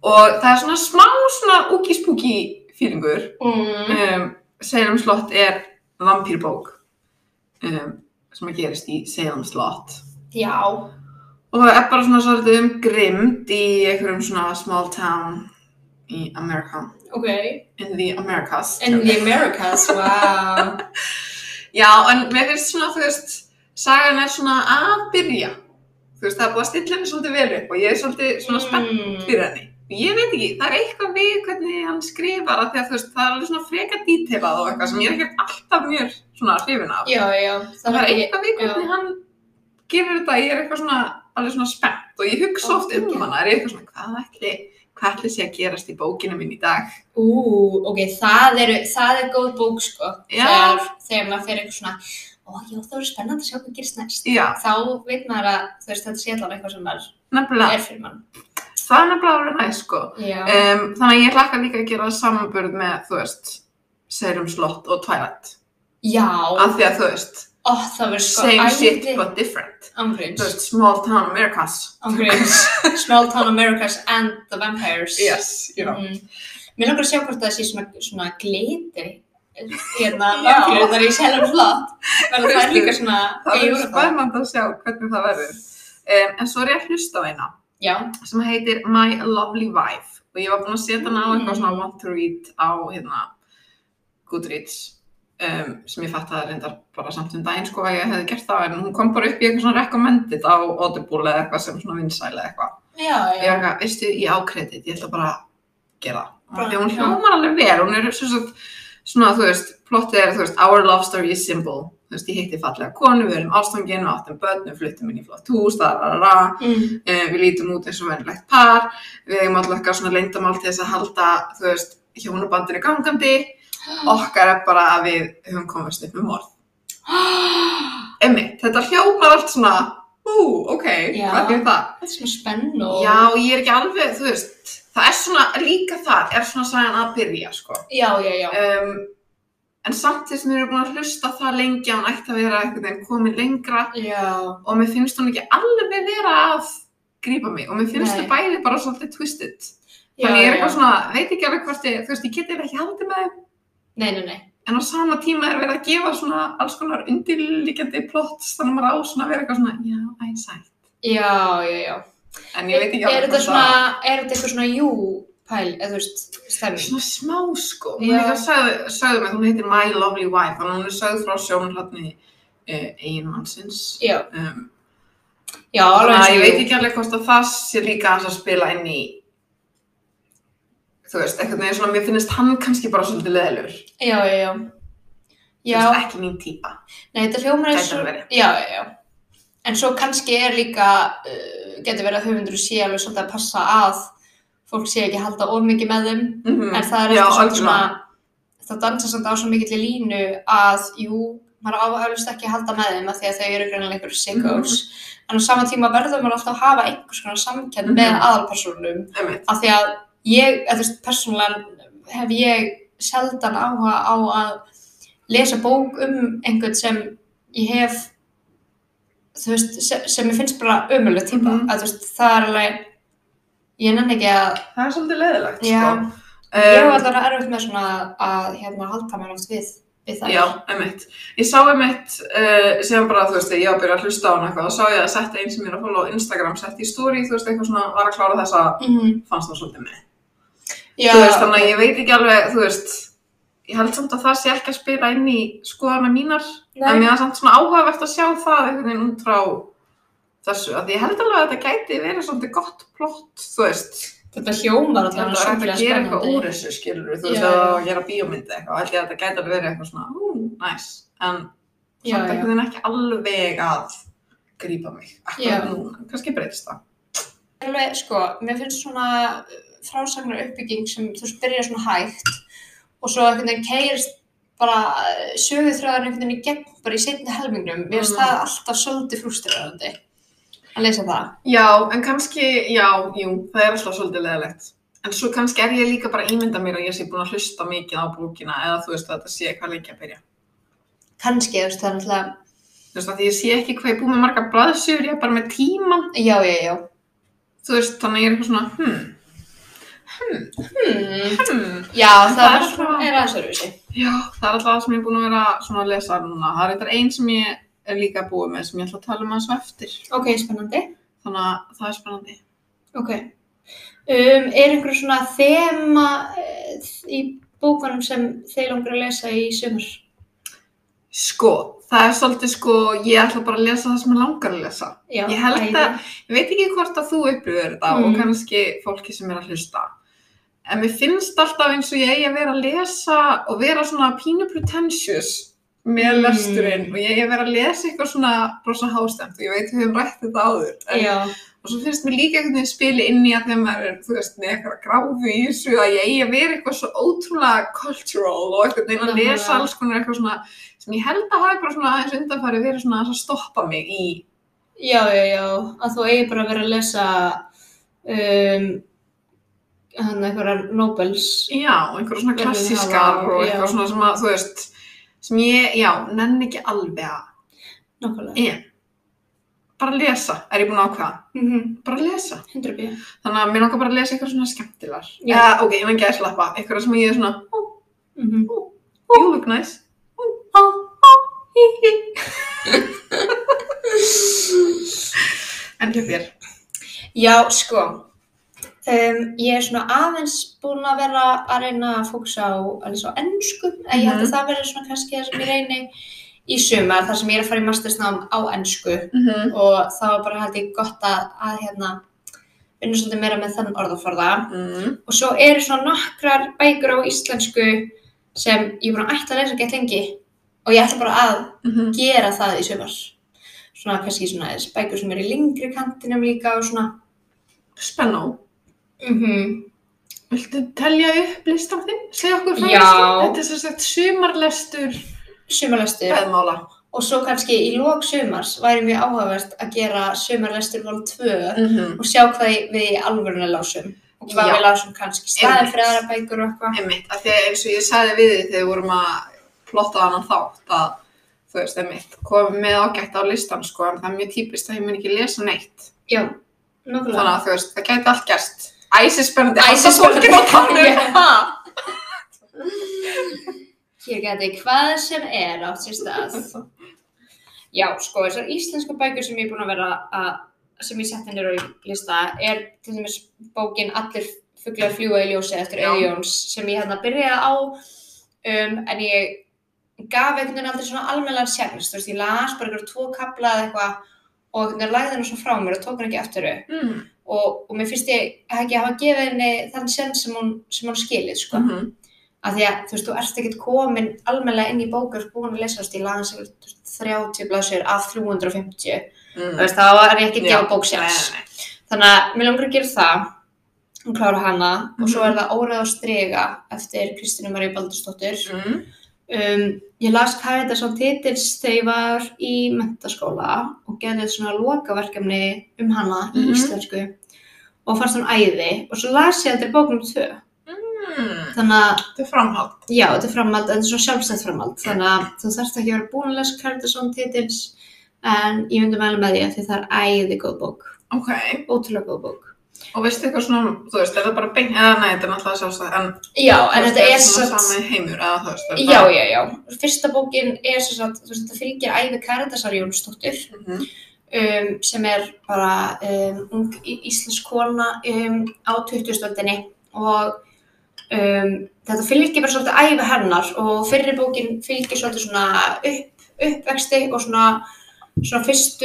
[SPEAKER 2] Og það er svona smá svona úki-spúki fílingur.
[SPEAKER 1] Mm.
[SPEAKER 2] um, Salem Slott er vampýrbók um, sem að gerist í Salem Slott
[SPEAKER 1] Já,
[SPEAKER 2] og er bara svona svolítið um grimd í einhverjum svona small town í Amerika
[SPEAKER 1] ok.
[SPEAKER 2] in the Americas
[SPEAKER 1] In the Americas, wow.
[SPEAKER 2] já en mér finnst svona þú veist sagan er svona að byrja Þú veist, það er búið að stilla henni svolítið vel upp og ég er svolítið
[SPEAKER 1] Mm.
[SPEAKER 2] svona spennt fyrir henni. Ég veit ekki, það er eitthvað við hvernig hann skrifar að því að þú veist, það er alveg svona freka dítelað og eitthvað sem ég er ekkert alltaf mjög svona hrifin af.
[SPEAKER 1] Já, já.
[SPEAKER 2] Það er
[SPEAKER 1] ekki-
[SPEAKER 2] eitthvað við hvernig hann gerir þetta, ég er eitthvað svona alveg svona spennt og ég hugsa oft um
[SPEAKER 1] Ógeð.
[SPEAKER 2] hana, er ég eitthvað svona, hvað ætli, hvað ætli sé að gerast í bókinu minn í dag?
[SPEAKER 1] Ú, ok, það, eru, það er góð bók sko.
[SPEAKER 2] Já.
[SPEAKER 1] Þegar, þegar maður fer eitthvað svona, ó já það verður spennandi að sjá hvað gerist næst.
[SPEAKER 2] Já,
[SPEAKER 1] Þá veit maður að þú veist þetta sé allavega eitthvað sem maður
[SPEAKER 2] nefnilega,
[SPEAKER 1] er fyrir mann. Eh,
[SPEAKER 2] það er nefnilega alveg næst sko.
[SPEAKER 1] Já.
[SPEAKER 2] Um, þannig að ég hlakka líka að gera samanburð með, þú veist, Serum Slott og Twilight.
[SPEAKER 1] já,
[SPEAKER 2] Af því að þú veist,
[SPEAKER 1] ó það verður sko
[SPEAKER 2] same shit but different. Þú
[SPEAKER 1] Angrims,
[SPEAKER 2] veist, small town Americas.
[SPEAKER 1] Angrims, Small Town Americas and the Vampires.
[SPEAKER 2] Yes, you know.
[SPEAKER 1] Mm. Mér langar að sjá hvort það sé svona, svona glitri hérna
[SPEAKER 2] Já.
[SPEAKER 1] vampirurnar í selum flott. Verður það
[SPEAKER 2] Veistu,
[SPEAKER 1] líka svona
[SPEAKER 2] Það
[SPEAKER 1] eigur
[SPEAKER 2] verður spennand að sjá hvernig það verður. Um, en svo er ég að hlusta á eina.
[SPEAKER 1] Já,
[SPEAKER 2] sem heitir My Lovely Wife og ég var búin að setja hana á eitthvað svona
[SPEAKER 1] Mm.
[SPEAKER 2] want to read á hérna Goodreads um, sem ég fatt að reyndar bara samt um daginn sko að ég hefði gert það en hún kom bara upp í eitthvað svona recommended á Audible eða eitthvað sem svona vinsæl eða eitthvað
[SPEAKER 1] já,
[SPEAKER 2] ég
[SPEAKER 1] já.
[SPEAKER 2] var eitthvað, veistu, ég ákredit, ég ætla bara að gera það
[SPEAKER 1] Bara,
[SPEAKER 2] og því hún
[SPEAKER 1] já.
[SPEAKER 2] hljómar alveg vel, hún er sem sagt svona þú veist, plottið er þú veist our love story is simple, þú veist, ég hitti fallega konu, við erum ástangin, við áttum börn við fluttum inn í flott hús, það er
[SPEAKER 1] Mm.
[SPEAKER 2] Eh, við lítum út eins og verðilegt par, við eigum alltaf eitthvað svona leyndamál til þess að halda, þú veist, hjónabandinu gangandi,
[SPEAKER 1] Mm.
[SPEAKER 2] okkar er bara að við höfum komast upp með morð.
[SPEAKER 1] Þetta
[SPEAKER 2] Emmi, þetta hljómar allt svona, ú, ok,
[SPEAKER 1] Já.
[SPEAKER 2] hvað er það?
[SPEAKER 1] er svona spenn og...
[SPEAKER 2] Já, ég er ekki alveg, þú veist, það er svona, líka þar er svona sæðan að byrja, sko.
[SPEAKER 1] já, já, já.
[SPEAKER 2] Um, en samt því sem við erum búin að hlusta það lengi, að hún ætti að vera einhvern veginn komin lengra
[SPEAKER 1] Já,
[SPEAKER 2] og mér finnst hún ekki alveg vera að grípa mig og mér finnst
[SPEAKER 1] Nei.
[SPEAKER 2] þau bæði bara svolítið twisted.
[SPEAKER 1] já,
[SPEAKER 2] Þannig ég er eitthvað
[SPEAKER 1] já.
[SPEAKER 2] svona, veit ekki alveg hvort ég, þú veist, ég geti eiginlega ekki haldið með þeim,
[SPEAKER 1] Nei, nei, nei.
[SPEAKER 2] en á sama tíma er verið að gefa svona alls konar undirlíkjandi plots, þannig að maður á svona að vera eitthvað svona, já, æ, sætt.
[SPEAKER 1] Já, já, já.
[SPEAKER 2] En ég veit ekki
[SPEAKER 1] Er
[SPEAKER 2] alveg
[SPEAKER 1] þetta
[SPEAKER 2] hvort
[SPEAKER 1] svona, er þetta eitthvað svona jú-pæl, eða þú veist, stemming?
[SPEAKER 2] Svona smá sko, hún
[SPEAKER 1] Já.
[SPEAKER 2] líka sögðu, sögðu mig, hún heitir My Lovely Wife, þannig að hún er sögð frá sjónhratni uh, eiginmannsins.
[SPEAKER 1] Já,
[SPEAKER 2] Um,
[SPEAKER 1] já, alveg
[SPEAKER 2] þannig
[SPEAKER 1] eins
[SPEAKER 2] að ég
[SPEAKER 1] og
[SPEAKER 2] veit
[SPEAKER 1] jú.
[SPEAKER 2] ekki alveg hvort að það sé líka aðeins að spila inn í, þú veist, eitthvað neginn svona, mér finnst hann kannski bara svolítið leðilur.
[SPEAKER 1] Já, já, já. Já,
[SPEAKER 2] Ekki mín típa,
[SPEAKER 1] nei, þetta hljómar eins
[SPEAKER 2] gæti
[SPEAKER 1] og...
[SPEAKER 2] hann verið.
[SPEAKER 1] Já, já, já. En svo kannski er líka, uh, getur verið að höfundur sé alveg svolítið að passa að fólk sé ekki að halda of mikið með þeim,
[SPEAKER 2] Mhm.
[SPEAKER 1] en það er
[SPEAKER 2] Já,
[SPEAKER 1] eftir svolítið
[SPEAKER 2] algjörlega.
[SPEAKER 1] svona, það dansa samt á svo mikill í línu að, jú, maður áhaflust ekki að halda með þeim að því að þau eru greinlega einhverju sickos,
[SPEAKER 2] Mm.
[SPEAKER 1] en á sama tíma verður maður alltaf að hafa einhvers konar samkenn
[SPEAKER 2] Mhm.
[SPEAKER 1] með aðalpersonum,
[SPEAKER 2] Einmitt.
[SPEAKER 1] af því að ég, eða þú veist, persónulega hef ég sjaldan áhuga á að lesa bók um einhvern sem ég hef þú veist, sem, sem ég finnst bara ömuleg típa,
[SPEAKER 2] Mhm.
[SPEAKER 1] að þú veist, það er alveg ég nenni ekki að
[SPEAKER 2] Það er svolítið leðilegt,
[SPEAKER 1] já,
[SPEAKER 2] sko.
[SPEAKER 1] ég hef
[SPEAKER 2] Um,
[SPEAKER 1] allavega erfitt með svona að hérna halda mér oft við, við það
[SPEAKER 2] Já, emitt. Ég sá emitt, uh, sem bara, þú veist, þegar ég var að byrja að hlusta á hann eitthvað, þá sá ég að setja einn sem ég er að fóla á Instagram, setja í story, þú veist, eitthvað svona, var að klára þessa,
[SPEAKER 1] Mhm.
[SPEAKER 2] fannst það svolítið með.
[SPEAKER 1] já,
[SPEAKER 2] Þú veist, þannig að ég veit ekki alveg, þú veist, ég held samt að það sé ekki að spila inn í skoðana mínar,
[SPEAKER 1] Nei.
[SPEAKER 2] en mér er samt svona áhugavert að sjá það einhvern veginn út frá þessu, af því ég held alveg að þetta gæti verið svolítið gott plott, þú veist,
[SPEAKER 1] þetta hljómar
[SPEAKER 2] Ég held
[SPEAKER 1] allavega
[SPEAKER 2] að það er hægt
[SPEAKER 1] sjúklega
[SPEAKER 2] að gera eitthvað
[SPEAKER 1] spennandi.
[SPEAKER 2] úr þessu, skilur við, þú veist,
[SPEAKER 1] Já,
[SPEAKER 2] að
[SPEAKER 1] já.
[SPEAKER 2] að gera bíómyndi eitthvað, held ég að þetta gæti að vera eitthvað svona, ú, næs, en
[SPEAKER 1] Já, já.
[SPEAKER 2] samt einhvern veginn ekki alveg að grípa mig,
[SPEAKER 1] Já.
[SPEAKER 2] akkurat núna, kannski breytist það.
[SPEAKER 1] alveg, sko, mér finnst svona frásagnar uppbygging sem þú veist byrjar svona hægt og svo einhvern veginn keirist bara söguð þröðan einhvern veginn í gegn bara í setni helmingnum, mér finnst
[SPEAKER 2] Mm.
[SPEAKER 1] það alltaf svolítið frúströðandi að lesa það.
[SPEAKER 2] Já, en kannski, já, jú, það er alltaf svolítið leðilegt. En svo kannski er ég líka bara að ímynda mér að ég sé búin að hlusta mikið á bókina eða þú veist að þetta sé eitthvað lengi að byrja.
[SPEAKER 1] Kannski, þú veist, það er alltaf,
[SPEAKER 2] Þú veist að ég sé ekki hvað ég er búin með marga blaðsjur, ég er bara með tíman,
[SPEAKER 1] já, já, já.
[SPEAKER 2] þú veist, þannig að ég er eitthvað svona, hmm,
[SPEAKER 1] Hmm.
[SPEAKER 2] hmm,
[SPEAKER 1] Já, það,
[SPEAKER 2] Það er
[SPEAKER 1] er,
[SPEAKER 2] svona-
[SPEAKER 1] er aðeins öðruvísi.
[SPEAKER 2] Já, það er alltaf það sem ég er búin að vera svona að lesa núna. Það er eitthvað einn sem ég er líka búin með sem ég ætla að tala um aðeins á eftir.
[SPEAKER 1] Ok, spennandi.
[SPEAKER 2] Þannig að það er spennandi.
[SPEAKER 1] Ok. Um, er einhver svona þema eh, í bókunum sem þeir langar að lesa í sumar?
[SPEAKER 2] Sko, það er svolítið sko, ég ætla bara að lesa það sem ég langar að lesa.
[SPEAKER 1] Já,
[SPEAKER 2] Ég held
[SPEAKER 1] æði.
[SPEAKER 2] að- Ég veit ekki hvort að þú upplifir þetta
[SPEAKER 1] Mm.
[SPEAKER 2] og kannski fólki sem er að hlusta. En mér finnst alltaf eins og ég eigi að vera að lesa og vera svona pínu pretentious með
[SPEAKER 1] Mm.
[SPEAKER 2] lesturinn og ég eigi að vera að lesa eitthvað svona rosa hástemt og ég veit við höfum rætt þetta áður. En,
[SPEAKER 1] Já,
[SPEAKER 2] og svo finnst mér líka einhvern veginn spili inn í að þegar maður er, þú veist, með eitthvað gráfi í þessu að ég eigi að vera eitthvað svo ótrúlega cultural og einhvern veginn að
[SPEAKER 1] Nákvæmlega.
[SPEAKER 2] lesa alls konar eitthvað svona sem ég held að hafi bara svona aðeins undanfæri verið svona aðeins að stoppa mig í
[SPEAKER 1] já, já, já, að þú eigi bara að vera að lesa um, hann einhverjar Nobels.
[SPEAKER 2] Já, einhverja svona
[SPEAKER 1] Verður
[SPEAKER 2] klassískar
[SPEAKER 1] hafa-
[SPEAKER 2] og
[SPEAKER 1] já.
[SPEAKER 2] eitthvað svona sem að, þú veist, sem ég, já, nenni ekki alveg að,
[SPEAKER 1] Nákvæmlega.
[SPEAKER 2] en bara að lesa, er ég búin að ákveða,
[SPEAKER 1] Mm -hmm.
[SPEAKER 2] bara að lesa.
[SPEAKER 1] 100
[SPEAKER 2] Þannig að mér langar bara að lesa eitthvað svona skemmtilegar.
[SPEAKER 1] Já.
[SPEAKER 2] Eða, ok, ég menn gæðslappa, eitthvað sem ég er svona, ó,
[SPEAKER 1] mm -hmm.
[SPEAKER 2] you look nice. En hjá þér.
[SPEAKER 1] Já, sko, um, ég er svona aðeins búin að vera að reyna að fókusa á alveg svo ennsku, en ég held að
[SPEAKER 2] Mhm.
[SPEAKER 1] það verður svona kannski það sem ég reyni í sumar, þar sem ég er að fara í mastersnám á ennsku
[SPEAKER 2] Mm -hmm.
[SPEAKER 1] og þá er bara held ég gott að, að hérna, vinna svolítið meira með þann orðaforða
[SPEAKER 2] Mm.
[SPEAKER 1] og svo eru svona nokkrar bækur á íslensku sem ég er búin að ætla að lesa gett lengi og ég ætla bara að
[SPEAKER 2] Mm
[SPEAKER 1] gera það í sumar svona kannski svona aðeins bækur sem eru í lengri kantinum líka og svona
[SPEAKER 2] Spennó.
[SPEAKER 1] mhm
[SPEAKER 2] Viltu telja upp listan þinn? Segja okkur frá
[SPEAKER 1] Já.
[SPEAKER 2] listan. Þetta er svo sagt sumarlestur
[SPEAKER 1] sumarlestur
[SPEAKER 2] beðmála.
[SPEAKER 1] og svo kannski í lók sumars væri mjög áhugavert að gera sumarlestur vol 2
[SPEAKER 2] Mm -hmm.
[SPEAKER 1] og sjá hvað við í alvöruna lásum og hvað
[SPEAKER 2] Já.
[SPEAKER 1] við lásum kannski í staðin
[SPEAKER 2] Einmitt.
[SPEAKER 1] fyrir aðra bækur og eitthvað
[SPEAKER 2] Einmitt, af því að eins og ég sagði við þið þegar við vorum að plotta annan þátt að þú veist, einmitt, komið með ágætt á listan sko, en það er mjög típist að ég mun ekki lesa neitt.
[SPEAKER 1] já,
[SPEAKER 2] Þannig
[SPEAKER 1] nokkulega
[SPEAKER 2] að þú veist, það gæti allt gerst. Æsispennandi,
[SPEAKER 1] Æsispennandi.
[SPEAKER 2] alltaf fólkið á tánum.
[SPEAKER 1] Já.
[SPEAKER 2] Ha?
[SPEAKER 1] hér geti hvað sem er átt sér stað
[SPEAKER 2] Mm,
[SPEAKER 1] já, sko, þessar íslensku bækur sem ég er búin að vera að sem ég setti nýra í lista er til dæmis bókin Allir fuglar fljúa í ljósi eftir
[SPEAKER 2] Já.
[SPEAKER 1] Auðjóns sem ég hérna byrjaði á um, en ég gaf einhvern veginn aldrei svona almennlega sérnist, þú veist, ég las bara einhverjum tvo kapla eða eitthvað og einhvern veginn lagði hennar svona frá mér og tók hennar ekki eftir þau
[SPEAKER 2] Mm.
[SPEAKER 1] og, og mér finnst ég ekki hafa gefið henni þann senn sem hún, sem hún skilið, sko.
[SPEAKER 2] Mhm.
[SPEAKER 1] Af því að, þú veist, þú ert ekkert komin almennlega inn í bókur búin að lesa, þú veist, ég lagði hennar 30 blaðsir af 350 þú
[SPEAKER 2] Mm.
[SPEAKER 1] veist, þá er ég ekki að
[SPEAKER 2] Já,
[SPEAKER 1] gefa bóksjans.
[SPEAKER 2] nei, nei, nei.
[SPEAKER 1] Þannig að mér langar að gera það og klára hana og svo
[SPEAKER 2] Mhm.
[SPEAKER 1] er það Órað og strega eftir Kristínu Maríu Baldursdóttir.
[SPEAKER 2] Mm.
[SPEAKER 1] Um, ég las Karitas á titils þegar ég var í mentaskóla og gerði svona lokaverkefni um hana í
[SPEAKER 2] Mhm.
[SPEAKER 1] íslensku og fannst hún æði og svo las ég þetta í bóknum 2.
[SPEAKER 2] Mm.
[SPEAKER 1] Þannig að,
[SPEAKER 2] Þetta er framhald.
[SPEAKER 1] já, þetta er framhald, þetta er svona sjálfstætt framhald. Þannig að þú þarft ekki að vera búin að lesa Karitas á titils en ég myndi mæla með því að því það er æði góð bók
[SPEAKER 2] Ok,
[SPEAKER 1] ótrúlega góð bók.
[SPEAKER 2] og veistu eitthvað svona, þú veist, er það bara beint, eða nei, þetta er náttúrulega sjálfstæð, en,
[SPEAKER 1] Já,
[SPEAKER 2] þú
[SPEAKER 1] en
[SPEAKER 2] veist,
[SPEAKER 1] þetta er
[SPEAKER 2] svona
[SPEAKER 1] satt,
[SPEAKER 2] sami heimur, eða þú veist, er
[SPEAKER 1] já, já, já, fyrsta bókin er svo satt, þú veist, þetta fylgir æfi Karitasar Jónsdóttir
[SPEAKER 2] Mhm.
[SPEAKER 1] um, sem er bara um, ung í- íslensk kona um, á 2000-öldinni og um, þetta fylgir bara svolítið æfi hennar og fyrri bókin fylgir svolítið svona upp, uppvexti og svona, svona fyrstu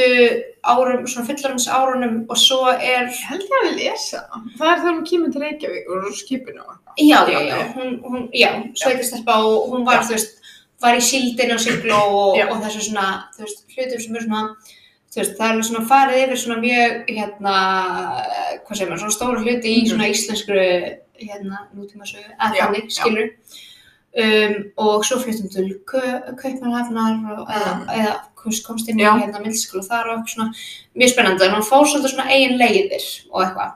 [SPEAKER 1] árum, svona fullarins árunum og svo er
[SPEAKER 2] Ég held ég að við lesa. Það er þegar hún kýmur til Reykjavík og er á skipinu. og-
[SPEAKER 1] Já, já, já,
[SPEAKER 2] Já.
[SPEAKER 1] hún, hún, já, sveitastelpa og hún var, þú veist, var í síldinu og siglu og,
[SPEAKER 2] Já.
[SPEAKER 1] og þessu svona, þú veist, hlutum sem er svona, þú veist, það er alveg svona farið yfir svona mjög, hérna, hvað segir maður, svona stóra hluti í
[SPEAKER 2] Mhm.
[SPEAKER 1] svona íslenskru, hérna, nútíma sögu, að
[SPEAKER 2] Já,
[SPEAKER 1] þannig,
[SPEAKER 2] já.
[SPEAKER 1] skilur. Um, og svo fluttum til Kau- Kaupmannhafnar og eða,
[SPEAKER 2] Mhm.
[SPEAKER 1] eða komst, komst inn í
[SPEAKER 2] Já.
[SPEAKER 1] hérna myndskóla þar og eitthvað svona, mjög spennandi, en hún fór svolítið svona eigin leiðir og eitthvað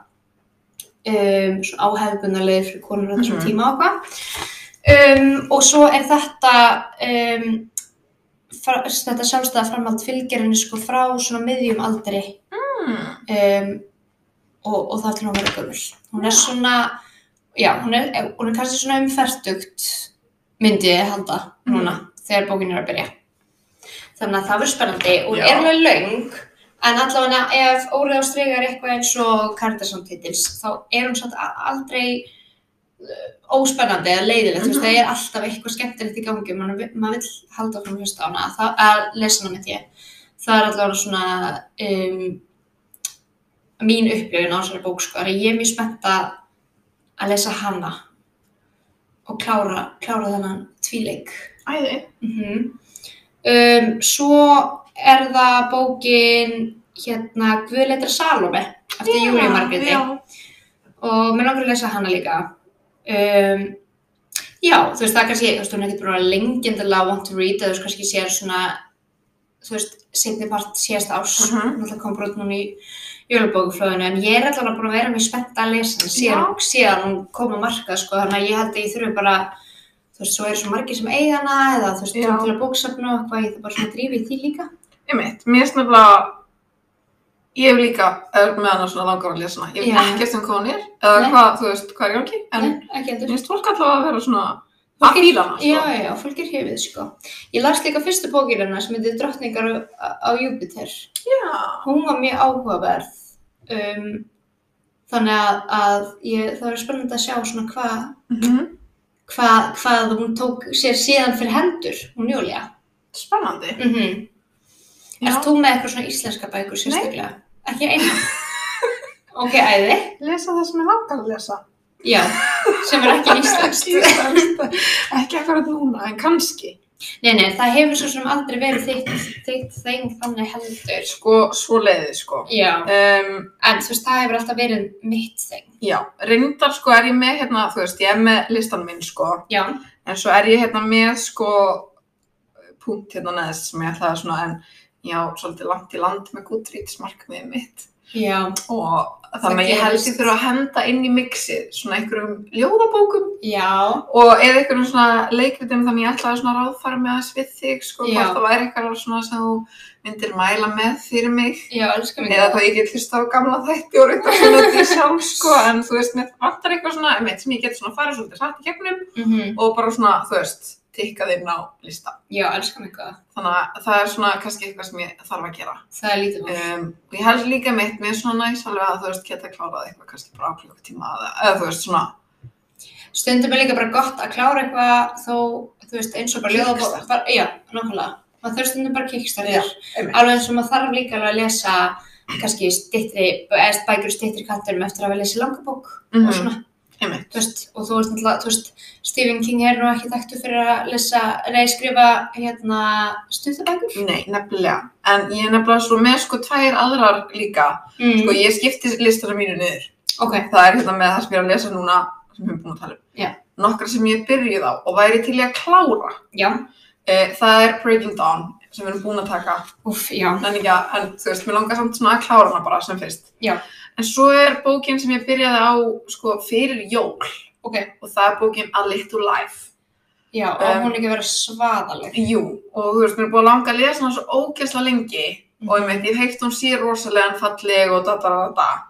[SPEAKER 1] um, svona áhefðbunarlegir fyrir konur á þessum
[SPEAKER 2] Mhm.
[SPEAKER 1] tíma og eitthvað. Um, og svo er þetta, um, fra, þetta sjálfstæða framhald fylgjarinni sko frá svona miðjum aldri
[SPEAKER 2] Mm.
[SPEAKER 1] um, og, og það til hún verið gömul. Hún er svona, já, hún er, hún er kannski svona umferdugt myndi ég halda núna þegar bókin er að byrja. Þannig að það verður spennandi og hún
[SPEAKER 2] Já.
[SPEAKER 1] er alveg löng en allavega ef órið á stregar eitthvað eins og kardasamtitils þá er hún satt a- aldrei uh, óspennandi eða leiðilegt, þú veist,
[SPEAKER 2] Mhm.
[SPEAKER 1] það er alltaf eitthvað skemmtilegt í gangi, mann- maður vill halda frá hlusta á hana, það, að lesa hana með ég það er allavega svona um, mín upplifin á þessari bók, sko, er að ég er mjög spennt að að lesa hana og klára, klára þennan tvíleik
[SPEAKER 2] Æði.
[SPEAKER 1] mm
[SPEAKER 2] Mhm.
[SPEAKER 1] um, svo er það bókin hérna Guðleitra Salome eftir
[SPEAKER 2] Já,
[SPEAKER 1] Júlíu Margréti
[SPEAKER 2] Já,
[SPEAKER 1] og mér langar að lesa hana líka um, já, þú veist, það er kannski þú veist, hún er ekkert búin að vera lengi endilega want to read, eða þú veist, kannski sér svona þú veist, setni part síðast árs uh
[SPEAKER 2] Mhm.
[SPEAKER 1] náttúrulega kom brot núna í jólabókuflöðinu, en ég er allavega búin að vera mér spennt að lesa hana síðan, síðan hún kom á markað, sko, þannig að ég held að ég þurfi bara þú veist, svo eru svo margir sem eiga hana eða þú veist,
[SPEAKER 2] Já.
[SPEAKER 1] kom til að bóksafna og eitthvað, ég þarf bara svona að drífa í því líka
[SPEAKER 2] einmitt. Mér er snabla, ég hef líka er með hana svona langar að lesa hana. Ég
[SPEAKER 1] Já.
[SPEAKER 2] veit ekkert um hvað hún er, eða
[SPEAKER 1] Nei.
[SPEAKER 2] hvað, þú veist, hvað er gangi, en
[SPEAKER 1] Nei, ekki endur
[SPEAKER 2] mér finnst fólk alltaf að vera svona, að fíla hana, sko.
[SPEAKER 1] Já, já, já, fólk er hefið, sko. Ég las líka fyrstu bókir hennar sem heitir Drottningar á, á Júpiter.
[SPEAKER 2] Já.
[SPEAKER 1] Hún var mjög áhugaverð. Um, þannig að, að ég, það var spennandi að sjá svona hvað
[SPEAKER 2] Mhm.
[SPEAKER 1] hva, hvað hún tók sér síðan fyrir hendur, hún Júlia.
[SPEAKER 2] Spennandi.
[SPEAKER 1] Mm
[SPEAKER 2] Mhm. Já.
[SPEAKER 1] Ert þú með eitthvað svona íslenska bækur sérstaklega? Ekki eina. ok, æði.
[SPEAKER 2] Lesa það sem ég langar að lesa.
[SPEAKER 1] Já, sem er ekki íslenskt.
[SPEAKER 2] Ekki íslenskt. Ekki akkurat núna, en kannski.
[SPEAKER 1] Nei, nei, það hefur svo sem aldrei verið þitt, þitt þeim þannig heldur.
[SPEAKER 2] Sko, svo leiði, sko.
[SPEAKER 1] Já.
[SPEAKER 2] Um,
[SPEAKER 1] En þú veist, það hefur alltaf verið mitt þing.
[SPEAKER 2] já, reyndar sko er ég með, hérna, þú veist, ég er með listan minn, sko.
[SPEAKER 1] Já,
[SPEAKER 2] En svo er ég hérna með sko punkt hérna neðst sem ég ætlaði svona en já, svolítið langt í land með Goodreads-markmiðið mitt
[SPEAKER 1] já,
[SPEAKER 2] og
[SPEAKER 1] Það
[SPEAKER 2] þannig að ég held
[SPEAKER 1] gerist.
[SPEAKER 2] ég þurfa að henda inn í mixið svona einhverjum ljóðabókum
[SPEAKER 1] já,
[SPEAKER 2] og eða einhverjum svona leikritum þannig ég ætlaði svona að ráðfara með þess við þig sko,
[SPEAKER 1] Já.
[SPEAKER 2] hvort það væri eitthvað svona sem þú myndir mæla með fyrir mig
[SPEAKER 1] já, elskar mig.
[SPEAKER 2] eða þá ég get hlust á gamla þætti og reynda að finna þetta sjálf sko en þú veist, mér vantar eitthvað svona, einmitt, sem ég get svona farið svolítið satt í gegnum
[SPEAKER 1] Mm
[SPEAKER 2] og bara svona, þú veist, tikkað inn á lista.
[SPEAKER 1] Já, elskar mig góða.
[SPEAKER 2] Þannig að það er svona kannski eitthvað sem ég þarf að gera.
[SPEAKER 1] Það er lítið mál.
[SPEAKER 2] Um, og ég held líka mitt, mér er svona næs alveg að þú veist, geta klárað eitthvað kannski bara á klukkutíma eða, eða þú veist, svona,
[SPEAKER 1] Stundum er líka bara gott að klára eitthvað þó, þú veist, eins og bara ljóðabók.
[SPEAKER 2] Kickstart.
[SPEAKER 1] bara- Já, nákvæmlega. Maður þarf stundum bara kickstartir.
[SPEAKER 2] einmitt.
[SPEAKER 1] Alveg eins og maður þarf líka alveg að lesa kannski stittri, eða bækur stittri kanturum eftir að hafa lesið langabók
[SPEAKER 2] Mhm.
[SPEAKER 1] og svona, þú
[SPEAKER 2] einmitt.
[SPEAKER 1] veist, og þú veist náttúrulega, þú veist, Stephen King er nú ekki þekktu fyrir að lesa, reyð skrifa, hérna, stuttabækur.
[SPEAKER 2] Nei, nefnilega. En ég er nefnilega svo með sko tvær aðrar líka.
[SPEAKER 1] Mm.
[SPEAKER 2] Sko, ég skipti listana mínu niður.
[SPEAKER 1] Ok,
[SPEAKER 2] Það er hérna með það sem ég er að lesa núna, sem við erum búin að tala um.
[SPEAKER 1] Já.
[SPEAKER 2] Nokkra sem ég byrjuð á og væri til í að klára.
[SPEAKER 1] já,
[SPEAKER 2] Eh, það er Breaking Dawn, sem við erum búin að taka.
[SPEAKER 1] úf, já,
[SPEAKER 2] en, ekki, að- en þú veist, mér langar samt svona að klára hana bara sem fyrst.
[SPEAKER 1] Já.
[SPEAKER 2] En svo er bókin sem ég byrjaði á sko fyrir jól
[SPEAKER 1] ok.
[SPEAKER 2] og það er bókin A Little Life.
[SPEAKER 1] Já, og
[SPEAKER 2] Um,
[SPEAKER 1] hún ekki vera svaðaleg.
[SPEAKER 2] Jú, og þú veist, mér er búin að langa að lesa hana svo ógeðslega lengi og ég veit, ég hef heilt hún sér rosalega en falleg og da da da da.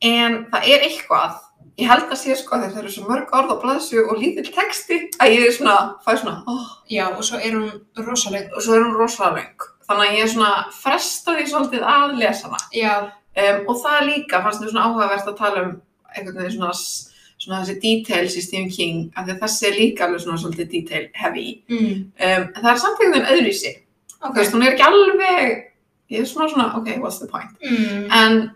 [SPEAKER 2] En það er eitthvað, ég held að sé sko þegar það eru svo mörg orð á blaðsju og lítill texti að ég er svona, fæ svona, óh,
[SPEAKER 1] Já, og svo er hún rosaleg.
[SPEAKER 2] og svo er hún rosalega leng. Þannig að ég er svona fresta því svolítið að lesa hana.
[SPEAKER 1] Já,
[SPEAKER 2] Um, og það líka fannst mér svona áhugavert að tala um einhvern veginn svona, svona þessi details í Stephen King, af því að þessi er líka alveg svona svolítið detail heavy.
[SPEAKER 1] mm,
[SPEAKER 2] Um, en það er samt einhvern veginn öðruvísi.
[SPEAKER 1] ok.
[SPEAKER 2] Þú veist, hún er ekki alveg, ég er svona svona, ok, what's the point?
[SPEAKER 1] Mm,
[SPEAKER 2] En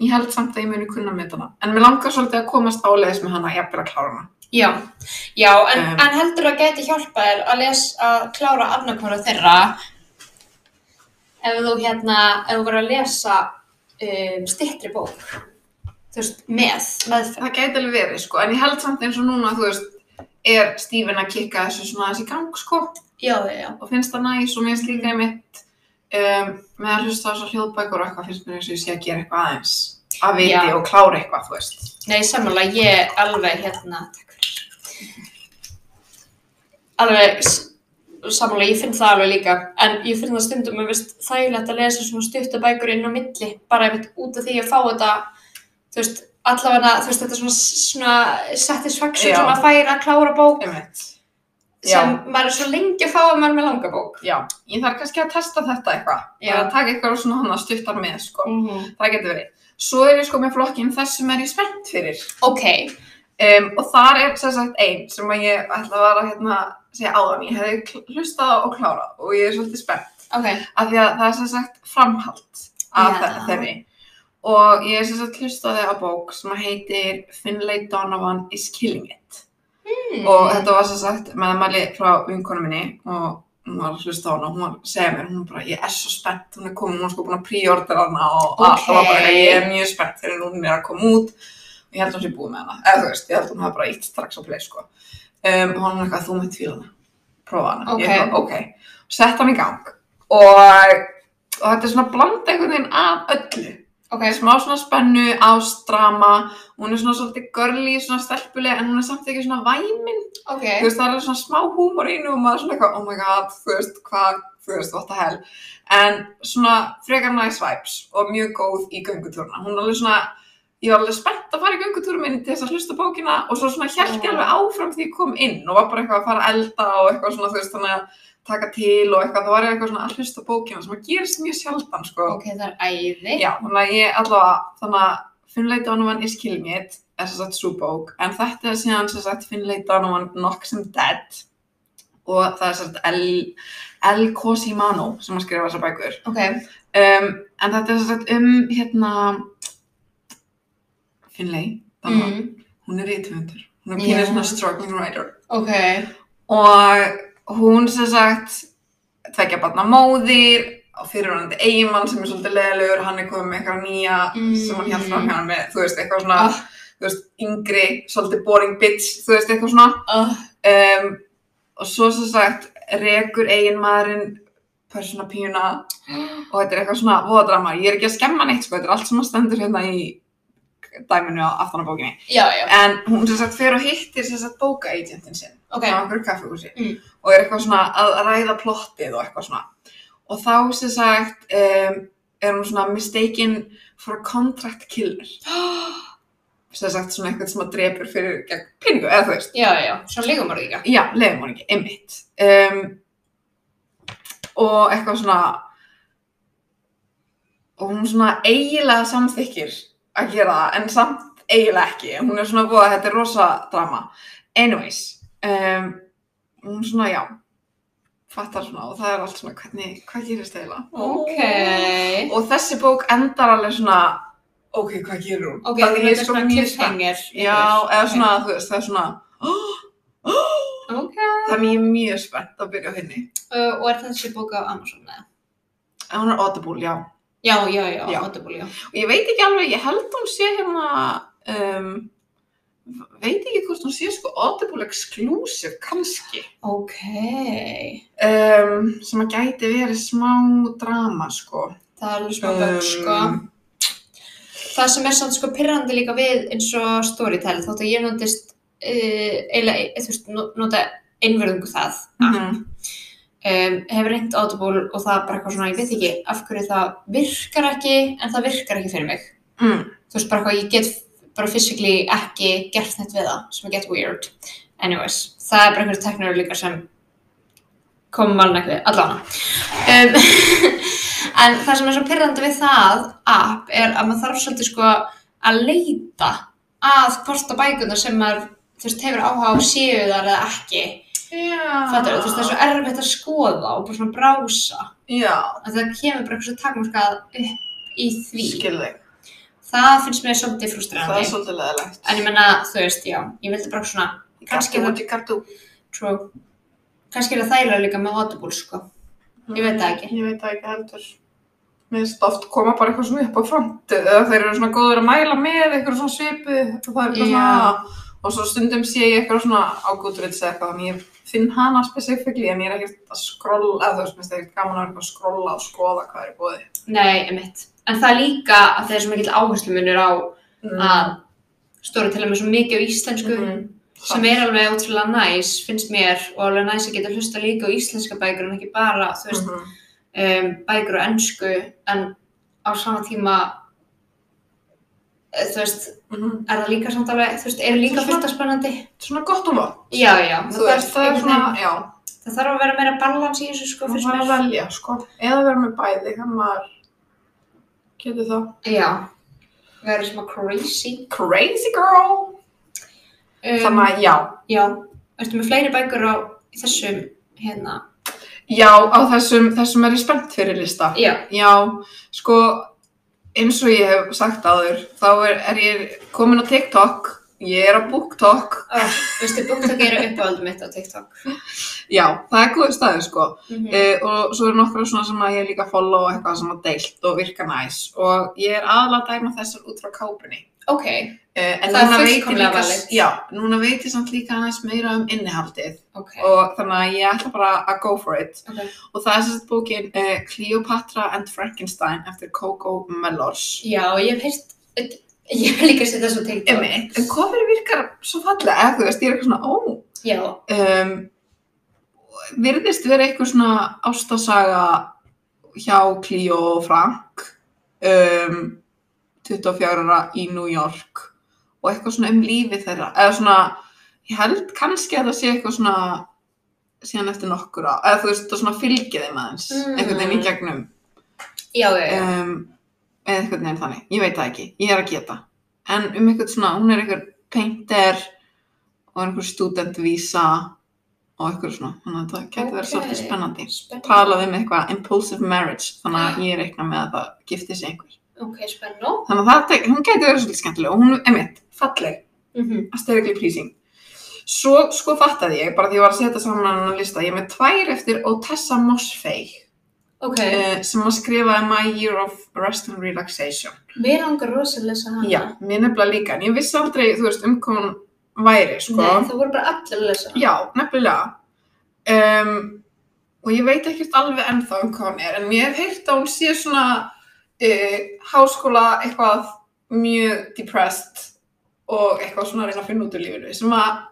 [SPEAKER 2] ég held samt að ég muni kunna með hana. En mér langar svolítið að komast áleiðis með hana, jafnvel að klára hana.
[SPEAKER 1] já, já en,
[SPEAKER 2] Um,
[SPEAKER 1] en heldur að geti hjálpa þér að les að klára annarkvara þeirra ef þú hérna, ef þú voru að lesa um, stittri bók, þú veist, með, meðferð.
[SPEAKER 2] Það gæti alveg verið, sko, en ég held samt eins og núna, þú veist, er Stephen að kikka þessu svona þessi gang, sko.
[SPEAKER 1] Já, já, já.
[SPEAKER 2] og finnst það næs og mér finnst líka mitt um, með að hlusta á þessar hljóðbækur og eitthvað finnst mér eins og ég sé að gera eitthvað aðeins að viti
[SPEAKER 1] Já.
[SPEAKER 2] og klára eitthvað, þú veist.
[SPEAKER 1] Nei, samanlega ég alveg hérna, takk fyrir. Alveg, s- samanlega ég finn það alveg líka, en ég finn það stundum að veist þægilegt að lesa svona stuttabækur inn á milli, bara einmitt út af því að fá þetta, þú veist, allavega, þú veist, þetta svona, s- svona satisfaction
[SPEAKER 2] Já.
[SPEAKER 1] sem að færa að klára bók
[SPEAKER 2] Einmitt.
[SPEAKER 1] sem maður er svo lengi að fá að maður er með langa bók.
[SPEAKER 2] Já, ég þarf kannski að testa þetta eitthvað,
[SPEAKER 1] Já.
[SPEAKER 2] bara að taka eitthvað svona hann að stuttar með, sko,
[SPEAKER 1] Mm -hmm.
[SPEAKER 2] það getur verið. Svo er ég sko með flokkinn þess sem er ég spennt fyrir.
[SPEAKER 1] Ok,
[SPEAKER 2] Um, og þar er sem sagt einn sem að ég ætla að vara hérna segja áðan, ég hefði kl- hlustað á og klárað og ég er svolítið spennt
[SPEAKER 1] Ok,
[SPEAKER 2] af því að það er sem sagt framhald af
[SPEAKER 1] Já.
[SPEAKER 2] þe- þeirri og ég er sem sagt hlustaði á bók sem heitir Finlay Donovan is Killing It
[SPEAKER 1] hmm.
[SPEAKER 2] og þetta var sem sagt meðmæli frá vinkonu minni og hún var að hlusta á hana og hún var að segja mér, hún bara, ég er svo spennt, hún er komin, hún er sko búin að príordera hana og
[SPEAKER 1] Ok.
[SPEAKER 2] okay. var bara, ég er mjög spennt þegar hún er að koma út og ég held að hún sé búið með hana, eða þú veist, ég held að hún hafi bara ítt strax á play, sko. Um, og hann var eitthvað, þú með tvíla hana, prófa hana,
[SPEAKER 1] Ok.
[SPEAKER 2] ég bara, ok, og sett hann í gang og, og þetta er svona blanda einhvern veginn af öllu
[SPEAKER 1] ok,
[SPEAKER 2] smá svona spennu, ástrama, hún er svona svolítið görli, svona stelpuleg, en hún er samt ekki svona væm
[SPEAKER 1] ok,
[SPEAKER 2] þú veist, það er alveg svona smá húmor í henni og maður svona eitthvað, oh my god, þú veist, hvað, þú veist, what the hell. En svona frekar nice vibes og mjög góð í göngutúruna. Hún er alveg svona, ég var alveg spennt að fara í göngutúrum minni til þess að hlusta á bókina og svo svona held ég
[SPEAKER 1] Já.
[SPEAKER 2] alveg áfram því ég kom inn og var bara eitthvað að fara að elda og eitthvað svona, þú veist, þannig að taka til og eitthvað, þá var ég eitthvað svona að hlusta á bókina sem að gerist mjög sjaldan, sko.
[SPEAKER 1] ok, það er æði.
[SPEAKER 2] Já, þannig að ég allavega, þannig að Finlay Donovan is Killing It er sem sagt svo bók, en þetta er síðan sem sagt Finlay Donovan Knocks Him Dead og það er sem sagt El, El Cosimano sem að skrifa þessar bækur.
[SPEAKER 1] Ok,
[SPEAKER 2] Um, en þetta er sem sagt um hérna Finlay Donovan,
[SPEAKER 1] mm.
[SPEAKER 2] hún er rítvendur, hún er pínir
[SPEAKER 1] Já.
[SPEAKER 2] svona struggling writer
[SPEAKER 1] ok,
[SPEAKER 2] og hún sem sagt tvekja barna móðir og fyrirvonandi eigimann sem er svolítið leðilegur, hann er komið með eitthvað nýja
[SPEAKER 1] Mm.
[SPEAKER 2] sem hann hjælt fram hjá hann með, þú veist, eitthvað svona,
[SPEAKER 1] Ah.
[SPEAKER 2] þú veist, yngri, svolítið boring bitch, þú veist, eitthvað svona.
[SPEAKER 1] oh,
[SPEAKER 2] Um, og svo sem sagt, rekur eiginmaðurinn persóna píuna og þetta er eitthvað svona voðadrama. Ég er ekki að skemma neitt, sko, þetta er allt sem að stendur hérna í dæminu á aftanabókinni.
[SPEAKER 1] já, já,
[SPEAKER 2] En hún sem sagt fer og hittir sem sagt bókaegentin sinn
[SPEAKER 1] ok,
[SPEAKER 2] á einhverju kaffehúsi
[SPEAKER 1] Mm.
[SPEAKER 2] og er eitthvað svona að ræða plottið og eitthvað svona og þá sem sagt um, er hún svona mistaken for a contract killer sem sagt svona eitthvað sem að drepur fyrir gegn pinningu eða þú veist
[SPEAKER 1] já, já, svo líkum bara líka.
[SPEAKER 2] já, leiðum hún ekki, einmitt um, og eitthvað svona og hún svona eiginlega samþykkir að gera það en samt eiginlega ekki hún er svona búið að þetta er rosa drama anyways um, hún svona já fattar svona og það er allt svona hvernig, hvað gerist eiginlega
[SPEAKER 1] Ok,
[SPEAKER 2] og þessi bók endar alveg svona ok, hvað gerur hún
[SPEAKER 1] ok,
[SPEAKER 2] Þannig
[SPEAKER 1] það
[SPEAKER 2] ég
[SPEAKER 1] er
[SPEAKER 2] er
[SPEAKER 1] svona
[SPEAKER 2] mjög spennt.
[SPEAKER 1] cliffhanger.
[SPEAKER 2] já, eða svona, þú veist, það er svona
[SPEAKER 1] Ok,
[SPEAKER 2] þannig ég er mjög spennt að byrja á henni
[SPEAKER 1] uh, og er þessi bók á Amazon eða?
[SPEAKER 2] En Hún er Audible, já.
[SPEAKER 1] Já, já, já,
[SPEAKER 2] Já.
[SPEAKER 1] já. Audible, já.
[SPEAKER 2] Og ég veit ekki alveg, ég held hún sé hérna, um, veit ekki hvort hún sé sko Audible exclusive kannski.
[SPEAKER 1] Ok,
[SPEAKER 2] Um, sem að gæti verið smá drama sko.
[SPEAKER 1] það er alveg smá
[SPEAKER 2] Um,
[SPEAKER 1] bögg, sko. Það sem er samt sko pyrrandi líka við eins og storytell, þótt að ég notist, uh, eiginlega, þú veist, no- nota einverðungu það. Ah.
[SPEAKER 2] Mhm.
[SPEAKER 1] Um, hefur reynd Audible og það er bara eitthvað svona, ég veit ekki af hverju það virkar ekki, en það virkar ekki fyrir mig.
[SPEAKER 2] Mm,
[SPEAKER 1] Þú veist, bara hvað ég get bara physically ekki gert þetta við það, sem er get weird. Anyways, það er bara einhverju teknur líka sem komum málun ekki við, allan. Um, en það sem er svo pyrrandi við það app er að maður þarf svolítið sko að leita að hvort að bækuna sem maður þú veist, hefur áhuga á séu þar eða ekki.
[SPEAKER 2] Já.
[SPEAKER 1] Fattar þú, þú veist, það er svo erfitt að skoða og bara svona brása.
[SPEAKER 2] Já,
[SPEAKER 1] Að það kemur bara eitthvað takmarkað upp í því.
[SPEAKER 2] skil þig.
[SPEAKER 1] Það finnst mér svolítið
[SPEAKER 2] Það
[SPEAKER 1] frustrandi.
[SPEAKER 2] er svolítið leðilegt.
[SPEAKER 1] En ég menna, þú veist, já, ég vildi bara svona, kannski það-
[SPEAKER 2] út í kartu.
[SPEAKER 1] true, kannski er það þægilega líka með Audible, sko. Ég veit það ekki.
[SPEAKER 2] Ég veit það ekki heldur. Mér finnst oft koma bara eitthvað svona upp á frontu eða þeir eru svona góður að mæla með eitthvað svona svipu og það er eitthvað svona og svo stundum sé ég eitthvað svona á Goodreads eða eitthvað þannig ég finn hana specifíkli en ég er ekkert að skrolla eða þú veist, mér finnst ekkert gaman að vera eitthvað að skrolla og skoða hvað er í bóði.
[SPEAKER 1] Nei, emitt. En það er líka að það er svo mikill áherslu munur á
[SPEAKER 2] Mm.
[SPEAKER 1] að stóri tala með svo mikið á íslensku,
[SPEAKER 2] Mhm.
[SPEAKER 1] sko, sem er alveg ótrúlega næs, finnst mér, og alveg næs að geta hlusta líka á íslenska bækur en ekki bara, þú veist,
[SPEAKER 2] Mhm.
[SPEAKER 1] um, bækur á ennsku, en á sama tíma, eh, þú veist,
[SPEAKER 2] Mhm.
[SPEAKER 1] er það líka samt alveg, þú veist, er líka fullt af spennandi?
[SPEAKER 2] Svona gott og vant.
[SPEAKER 1] Já, já.
[SPEAKER 2] Þú veist, það er
[SPEAKER 1] einhvern
[SPEAKER 2] svona, já,
[SPEAKER 1] Það þarf að vera meira balans í þessu sko
[SPEAKER 2] maður
[SPEAKER 1] fyrst
[SPEAKER 2] þarf að
[SPEAKER 1] mér.
[SPEAKER 2] velja, sko. Eða vera með bæði, þannig að maður getur það.
[SPEAKER 1] Já. Verður svona crazy.
[SPEAKER 2] Crazy girl!
[SPEAKER 1] Um,
[SPEAKER 2] Þannig að já,
[SPEAKER 1] já, ertu með fleiri bækur á þessum hérna?
[SPEAKER 2] já á þessum, þessum er ég spennt fyrir lista.
[SPEAKER 1] Já,
[SPEAKER 2] Já, sko, eins og ég hef sagt áður, þá er, er ég komin á TikTok, ég er á BookTok,
[SPEAKER 1] oh, veistu, BookTok eru uppáhaldum mitt á TikTok.
[SPEAKER 2] já, það er góður staður, sko.
[SPEAKER 1] Mm
[SPEAKER 2] Uh, og svo eru nokkra svona sem að ég líka follow og eitthvað sem að deilt og virka næs og ég er aðalega að dæma þessar út frá kápunni.
[SPEAKER 1] Ok,
[SPEAKER 2] Uh,
[SPEAKER 1] Það
[SPEAKER 2] en
[SPEAKER 1] er
[SPEAKER 2] núna veit ég
[SPEAKER 1] fullkomlega
[SPEAKER 2] líka,
[SPEAKER 1] valid.
[SPEAKER 2] já, núna veit ég samt líka aðeins meira um innihaldið
[SPEAKER 1] ok.
[SPEAKER 2] og þannig að ég ætla bara að go for it.
[SPEAKER 1] Ok.
[SPEAKER 2] Og það er sérst bókin uh, Cleopatra and Frankenstein eftir Coco Mellors.
[SPEAKER 1] Já, ég hef heyrt, eh, ég hef líka sett þessu á TikTok.
[SPEAKER 2] Einmitt, en kofur virkar svo fallega, eða þú veist, ég er eitthvað svona, ó,
[SPEAKER 1] Já,
[SPEAKER 2] um, virðist vera eitthvað svona ástasaga hjá Clio og Frank, um, 24 ára í New York og eitthvað svona um lífi þeirra, eða svona, ég held kannski að það sé eitthvað svona síðan eftir nokkur á, eða þú veist, það svona fylgið þeim aðeins,
[SPEAKER 1] Mm.
[SPEAKER 2] einhvern veginn í gegnum,
[SPEAKER 1] já, já, já.
[SPEAKER 2] um, eða einhvern veginn þannig, ég veit það ekki, ég er að geta en um einhvern svona, hún er einhver painter og einhver studentvísa og einhver svona, þannig að það getur verið
[SPEAKER 1] Ok.
[SPEAKER 2] svolítið spennandi
[SPEAKER 1] Spennan.
[SPEAKER 2] talað um eitthvað impulsive marriage þannig að ég reikna með að það gifti sig einhver
[SPEAKER 1] Ok, spennu.
[SPEAKER 2] þannig að það, tek- hún getur verið svolítið skemmtileg og hún er mitt, falleg
[SPEAKER 1] Mm
[SPEAKER 2] aesthetically pleasing svo sko fattaði ég, bara því ég var að setja saman hann lista, ég er með tvær eftir Otessa Mosfey
[SPEAKER 1] Ok,
[SPEAKER 2] eh, sem að skrifaði My Year of Rest and Relaxation
[SPEAKER 1] mér langar rosalega þess að hana.
[SPEAKER 2] Já, mér nefnilega líka, en ég vissi aldrei, þú veist, um hvað hún væri, sko.
[SPEAKER 1] Nei, það voru bara allir að lesa hana.
[SPEAKER 2] Já, nefnilega. Um, og ég veit ekkert alveg ennþá um hvað hún er, en ég hef heyrt að hún sé svona uh, háskóla eitthvað mjög depressed og eitthvað svona að reyna að finna út úr lífinu, sem að,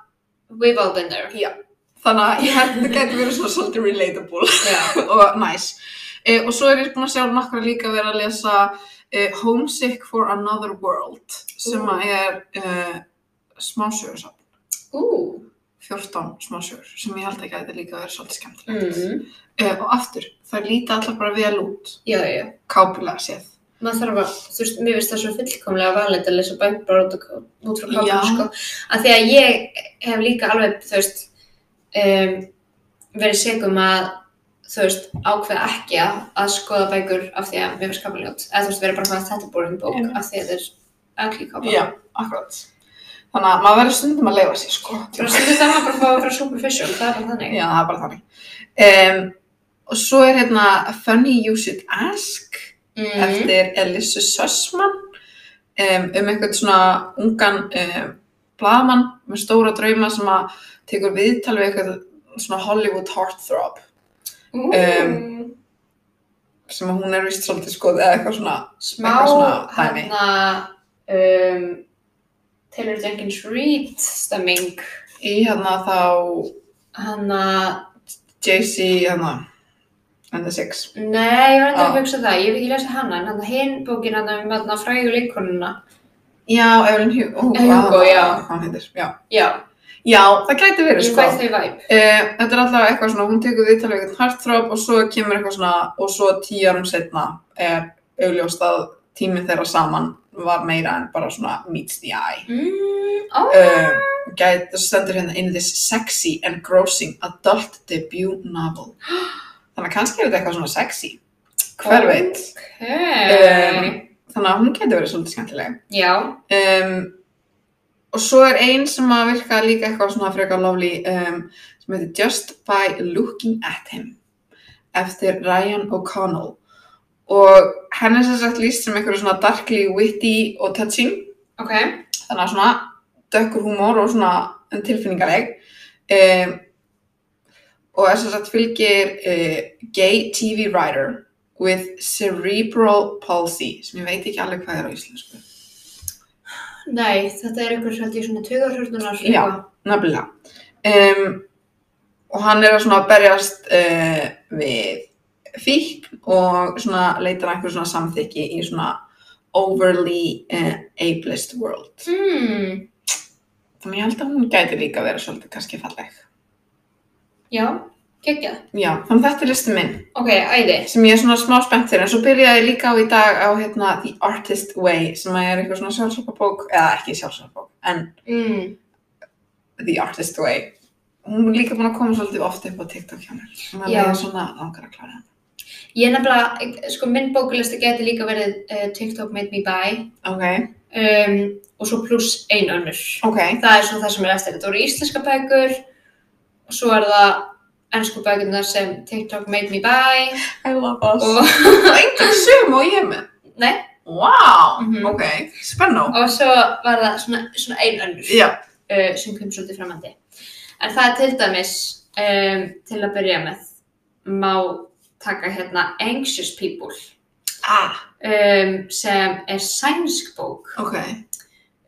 [SPEAKER 1] We've all been there.
[SPEAKER 2] já, þannig að ég held að þetta getur verið svona svolítið relatable
[SPEAKER 1] Já.
[SPEAKER 2] og næs. Uh, og svo er ég búin að sjá nokkra líka vera að lesa uh, Homesick for Another World sem að er uh, smásögursafn,
[SPEAKER 1] Ú.
[SPEAKER 2] 14 smásögur sem ég held að gæti líka að vera svolítið skemmtilegt.
[SPEAKER 1] Mm.
[SPEAKER 2] Uh, og aftur, það líta allar bara vel út,
[SPEAKER 1] Já, já, já.
[SPEAKER 2] kápulega séð.
[SPEAKER 1] Maður þarf að, þú veist, mér finnst það svo fullkomlega valið að lesa bækur bara út, og- út frá
[SPEAKER 2] Já.
[SPEAKER 1] kápunum, sko. Af því að ég hef líka alveg, þú veist, um, verið segum að, þú veist, ákveða ekki að, að skoða bækur af því að mér finnst kápunum ljót. Eða þú veist, verið bara svona þetta er boring bók
[SPEAKER 2] Einmitt.
[SPEAKER 1] af því að þetta er allir kápunum.
[SPEAKER 2] Já, akkurat. Þannig að maður verður stundum að leifa sér, sko.
[SPEAKER 1] Bara stundu það maður bara að fá að vera superficial, það er bara þannig.
[SPEAKER 2] Já, það er bara þannig. Um, og svo er hérna Funny You Should Ask
[SPEAKER 1] Mhm.
[SPEAKER 2] eftir Elissu Sössmann um, um einhvern svona ungan um, blaðmann með stóra drauma sem að tekur viðtal við eitthvað svona Hollywood heartthrob
[SPEAKER 1] Ú,
[SPEAKER 2] em, sem að hún er vist svolítið skoð eða eitthvað svona
[SPEAKER 1] smá
[SPEAKER 2] eitthvað svona dæmi.
[SPEAKER 1] hérna um, Taylor Jenkins Reid stemming
[SPEAKER 2] í hérna þá
[SPEAKER 1] hérna,
[SPEAKER 2] JC hérna and the Six
[SPEAKER 1] nei, ég var enda
[SPEAKER 2] Á.
[SPEAKER 1] að hugsa það ég hef ekki lesið hana, en hérna hinn bókin hérna með hérna frægu leikonuna
[SPEAKER 2] Já, Evelyn Hugo, Hugo,
[SPEAKER 1] Hugo, já.
[SPEAKER 2] hvað hún heitir, já.
[SPEAKER 1] já,
[SPEAKER 2] Já, það gæti verið,
[SPEAKER 1] ég
[SPEAKER 2] sko.
[SPEAKER 1] fæ þau væp
[SPEAKER 2] Uh, þetta er alltaf eitthvað svona, hún tekur viðtalið eitthvað hartþróp og svo kemur eitthvað svona og svo tíu árum setna er augljóst að tíminn þeirra saman var meira en bara svona meets the eye.
[SPEAKER 1] mm, ó,
[SPEAKER 2] Uh, gæt, það stendur hérna in this sexy and grossing adult debut novel. Þannig að kannski er þetta eitthvað svona sexy, hver veit.
[SPEAKER 1] ok
[SPEAKER 2] Um, þannig að hún getur verið svolítið skemmtileg.
[SPEAKER 1] já,
[SPEAKER 2] um, og svo er ein sem að virka líka eitthvað svona frekar lovely um, sem heitir Just by Looking at Him eftir Ryan O'Connell og henni sem sagt líst sem einhverju svona darkly witty og touching
[SPEAKER 1] ok
[SPEAKER 2] þannig að svona dökkur húmór og svona en tilfinningaleg um, og er sem sagt fylgir uh, gay TV writer with cerebral palsy sem ég veit ekki alveg hvað er á íslensku
[SPEAKER 1] nei, þetta er einhver held ég svona tögarhörnunar
[SPEAKER 2] Já. Nefnilega. Um, og hann er að svona berjast uh, við fíkn og svona leitar að einhver svona samþykki í svona overly uh, ableist world.
[SPEAKER 1] mm,
[SPEAKER 2] Þannig ég held að hún gæti líka verið svolítið kannski falleg.
[SPEAKER 1] já, geggjað
[SPEAKER 2] Já, þannig þetta er listu minn
[SPEAKER 1] ok, æði
[SPEAKER 2] sem ég er svona smá spennt fyrir en svo byrjaði ég líka á í dag á hérna The Artist Way sem er eitthvað svona sjálfsöpabók eða ekki sjálfsöpabók en
[SPEAKER 1] mm,
[SPEAKER 3] The Artist Way hún er líka búin að koma svolítið oft upp á TikTok hjá mér þannig að
[SPEAKER 1] Já.
[SPEAKER 3] ég er svona langar að klára
[SPEAKER 1] Ég er nefnilega, sko minn bókulista getur líka verið uh, TikTok Made Me Buy
[SPEAKER 3] hana
[SPEAKER 1] um, og svo pluss ein önnur.
[SPEAKER 3] ok, ok,
[SPEAKER 1] Það er svona það sem er eftir. Þetta voru íslenska bækur og svo er það ennsku bækurna sem TikTok Made Me Buy
[SPEAKER 3] I love us
[SPEAKER 1] og,
[SPEAKER 3] og engin sum og ég er með
[SPEAKER 1] nei,
[SPEAKER 3] wow,
[SPEAKER 1] Mhm.
[SPEAKER 3] ok, spennó
[SPEAKER 1] og svo var það svona, svona ein önnur
[SPEAKER 3] já,
[SPEAKER 1] uh, sem kom svolítið framandi. En það er til dæmis, um, til að byrja með, má taka hérna Anxious People
[SPEAKER 3] ah,
[SPEAKER 1] um, sem er sænsk bók
[SPEAKER 3] ok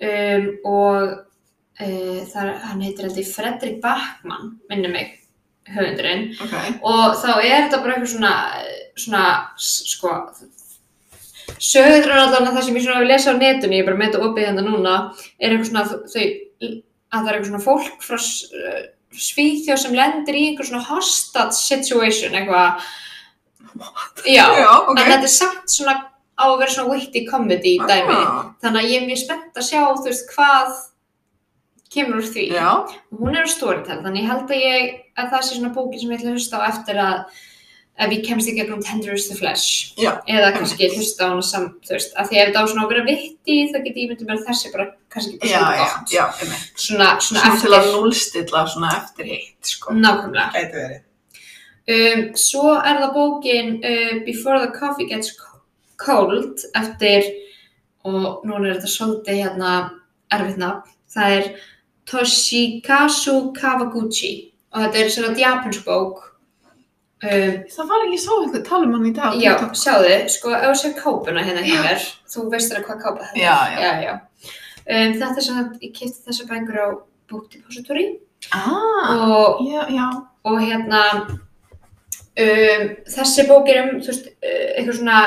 [SPEAKER 1] um, og uh, þar, hann heitir heldur Fredrik Bachmann, minnum mig, höfundurinn.
[SPEAKER 3] ok,
[SPEAKER 1] Og þá er þetta bara eitthvað svona, svona, s- sko, sögur er allan að það sem ég svona hef lesað á netinu, ég er bara með þetta opið þetta núna, er eitthvað svona þau, að það er eitthvað svona fólk frá S- eh, Svíþjóð sem lendir í einhver svona hostage situation, eitthvað. Já,
[SPEAKER 3] já, ok
[SPEAKER 1] en þetta er samt svona á að vera svona witty comedy í dæmi.
[SPEAKER 3] Ah,
[SPEAKER 1] Þannig að ég er mjög spennt að sjá, þú veist, hvað kemur úr því.
[SPEAKER 3] já,
[SPEAKER 1] Hún er á storytell, þannig ég held að ég, að það sé svona bókin sem ég ætla að hlusta á eftir að ef ég kemst í gegnum Tender is the Flesh.
[SPEAKER 3] Já,
[SPEAKER 1] Eða kannski hlusta á hana samt, þú veist, að því ef það á svona að vera vitti, þá get ég myndið mér að þessi bara, kannski
[SPEAKER 3] já,
[SPEAKER 1] bara
[SPEAKER 3] já,
[SPEAKER 1] svona
[SPEAKER 3] já,
[SPEAKER 1] gott.
[SPEAKER 3] já einmitt.
[SPEAKER 1] Svona, svona,
[SPEAKER 3] svona til að
[SPEAKER 1] eftir,
[SPEAKER 3] núlstilla svona eftir hitt, sko
[SPEAKER 1] nákvæmlega.
[SPEAKER 3] gæti verið
[SPEAKER 1] Um, svo er það bókin uh, Before the Coffee Gets Co- Cold eftir, og núna er þetta svolítið hérna erfitt nafn, það er Toshikazu Kawaguchi og þetta er svona japansk bók. Um,
[SPEAKER 3] það var ekki svo eitthvað tala um hann í dag á
[SPEAKER 1] já,
[SPEAKER 3] TikTok.
[SPEAKER 1] sjáðu, sko, ef þú sér kápuna hérna hjá
[SPEAKER 3] Já.
[SPEAKER 1] mér, þú veist þér hvað kápa þetta
[SPEAKER 3] Já, já.
[SPEAKER 1] er. Já, já. Um, þetta er svona, ég kipti þessa bækur á bókdepository
[SPEAKER 3] ah,
[SPEAKER 1] og
[SPEAKER 3] já, já,
[SPEAKER 1] og hérna um, þessi bók er um þú veist, uh, eitthvað svona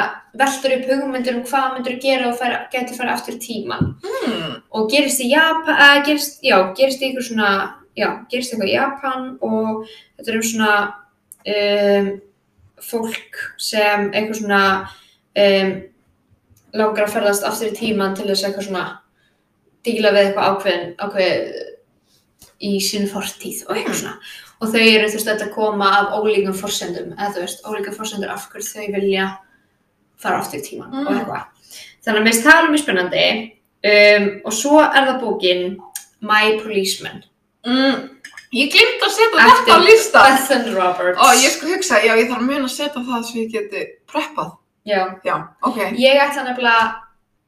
[SPEAKER 1] veldur upp hugmyndur um hvað myndur gera og fara, gæti fara aftur í tíman
[SPEAKER 3] hmm,
[SPEAKER 1] og gerist í Japan, eða gerist, já, gerist í eitthvað svona, já, gerist eitthvað í Japan og þetta er um svona um, fólk sem eitthvað svona um, langar að ferðast aftur í tíman til þess að eitthvað svona díla við eitthvað ákveðin, ákveð í sínu fortíð og eitthvað svona. Og þau eru þú veist þetta koma af ólíkum forsendum, eða þú veist, ólíkum forsendur af hverju þau vilja fara aftur í tíman og
[SPEAKER 3] Mm.
[SPEAKER 1] eitthvað. Þannig að mér finnst það alveg mjög spennandi. Um, og svo er það bókin My Policeman,
[SPEAKER 3] mm, ég glimt að setja
[SPEAKER 1] Eftir-
[SPEAKER 3] þetta á lista
[SPEAKER 1] Bethan Roberts.
[SPEAKER 3] og ég sko hugsa, já, ég þarf að muna að setja það svo ég geti preppað
[SPEAKER 1] Já,
[SPEAKER 3] já, ok,
[SPEAKER 1] ég ætla nefnilega,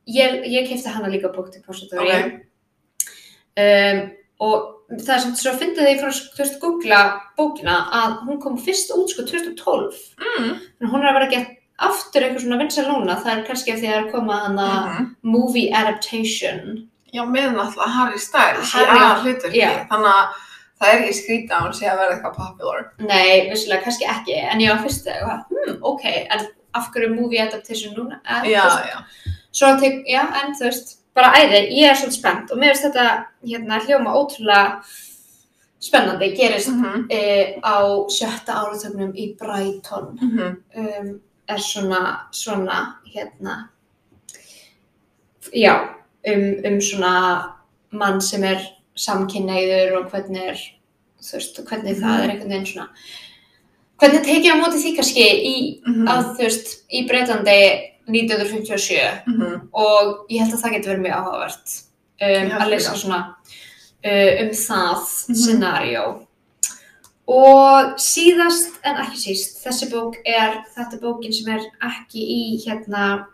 [SPEAKER 1] ég, ég kefti hana líka bók til Pository.
[SPEAKER 3] Ok.
[SPEAKER 1] Um, og það er sem svo að fyndi því frá, þú veist, googla bókina að hún kom fyrst út sko 2012.
[SPEAKER 3] mm,
[SPEAKER 1] En hún er að vera gett aftur eitthvað svona vinsal núna, það er kannski af því að það er að koma hana
[SPEAKER 3] mhm.
[SPEAKER 1] movie adaptation.
[SPEAKER 3] já, með náttúrulega Harry Styles í
[SPEAKER 1] Harry-
[SPEAKER 3] aðal hlutverki
[SPEAKER 1] já.
[SPEAKER 3] þannig að það er ekki skrítið að hún sé að verða eitthvað popular
[SPEAKER 1] Nei, vissulega kannski ekki, en ég var fyrst eitthvað, hmm, ok, en af hverju movie adaptation núna? Eh, þú
[SPEAKER 3] já,
[SPEAKER 1] veist,
[SPEAKER 3] já,
[SPEAKER 1] Svo tek, já, en þú veist, bara æði, ég er svolítið spennt og mér finnst þetta hérna hljóma ótrúlega spennandi, gerist mm.
[SPEAKER 3] mhm,
[SPEAKER 1] á sjötta áratögnum í Brighton,
[SPEAKER 3] mhm
[SPEAKER 1] um, er svona, svona, hérna, já, um, um svona mann sem er samkynneigður og hvernig er, þú veist, og hvernig það er einhvern veginn svona, hvernig tekið á móti því kannski í,
[SPEAKER 2] Mm.
[SPEAKER 3] mhm,
[SPEAKER 1] að þú veist, í Breitlandi 1957
[SPEAKER 3] mhm.
[SPEAKER 1] og ég held að það getur verið mjög áhugavert um,
[SPEAKER 3] Ég held
[SPEAKER 1] að lesa
[SPEAKER 3] líka.
[SPEAKER 1] svona uh, um það
[SPEAKER 3] Mhm.
[SPEAKER 1] scenario og síðast en ekki síst þessi bók er þetta er bókin sem er ekki í hérna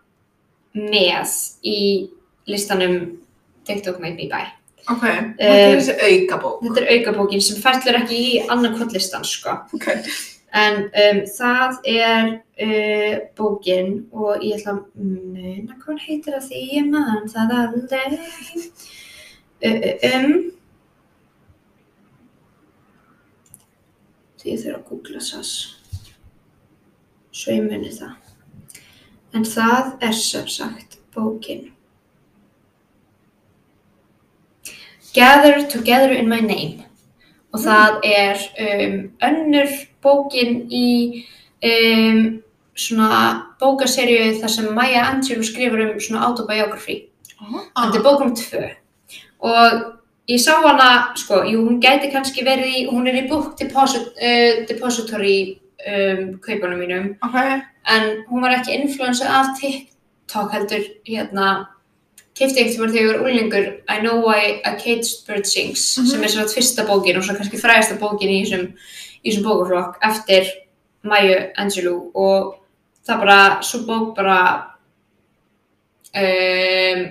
[SPEAKER 1] með í listanum TikTok Made Me Buy
[SPEAKER 3] ok,
[SPEAKER 1] Eh,
[SPEAKER 3] þetta er þessi aukabók
[SPEAKER 1] þetta er aukabókin sem fellur ekki í annan kvotlistan sko
[SPEAKER 3] ok,
[SPEAKER 1] En um, það er uh, bókin og ég ætla að muna hvað hún heitir að því ég man það aldrei. Uh, um, því ég þurf að googla það. Svo ég muni það. En það er sem sagt bókin. Gather Together in My Name og það er um, önnur bókin í um, svona bókaserju þar sem Maya Angelou skrifur um svona autobiography.
[SPEAKER 3] Ah.
[SPEAKER 1] Þetta er bókum tvö og Ég sá hana, sko, jú, hún gæti kannski verið í, hún er í book deposit, uh, depository um, kaupunum mínum,
[SPEAKER 2] Ok.
[SPEAKER 1] en hún var ekki influencer af TikTok heldur, hérna, kefti eitt sem var þegar ég var úlingur, I Know Why a Cage Bird Sings,
[SPEAKER 2] Mhm.
[SPEAKER 1] sem er svona fyrsta bókin og svona kannski frægasta bókin í þessum, í þessum bókaflokk eftir Maya Angelou og það bara, svo bók bara, um,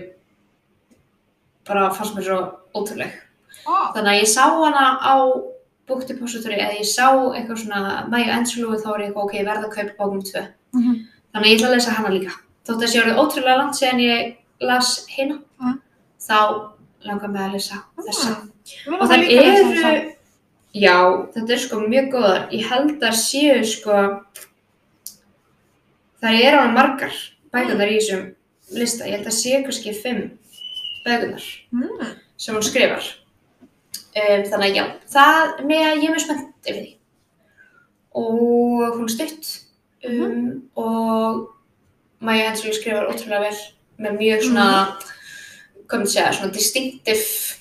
[SPEAKER 1] bara fannst mér svo ótrúleg.
[SPEAKER 2] Ah,
[SPEAKER 1] Þannig að ég sá hana á búktipository eða ég sá eitthvað svona Maya Angelou og þá er ég eitthvað ok, ég verð að kaupa bókum tvö.
[SPEAKER 2] mhm.
[SPEAKER 1] Þannig að ég ætla að lesa hana líka. Þótt að sé orðið ótrúlega langt síðan ég las hina,
[SPEAKER 2] Mhm.
[SPEAKER 1] þá langar mig að lesa þessa.
[SPEAKER 2] Ég
[SPEAKER 1] Og
[SPEAKER 2] verð að
[SPEAKER 1] það
[SPEAKER 2] líka lesa
[SPEAKER 1] eru,
[SPEAKER 2] þessa.
[SPEAKER 1] já, þetta er sko mjög góðar. Ég held að séu sko, það eru alveg margar bækunar í þessum lista. Ég held að séu kannski fimm bækunar
[SPEAKER 2] Mm.
[SPEAKER 1] sem hún skrifar. Um, þannig að já, það með að ég er mjög spennt yfir því. Og hún er stutt um,
[SPEAKER 2] Mhm.
[SPEAKER 1] og Maja Angelou skrifar ótrúlega vel með
[SPEAKER 2] Mhm.
[SPEAKER 1] mjög svona, hvað myndi ég segja, svona distinctive,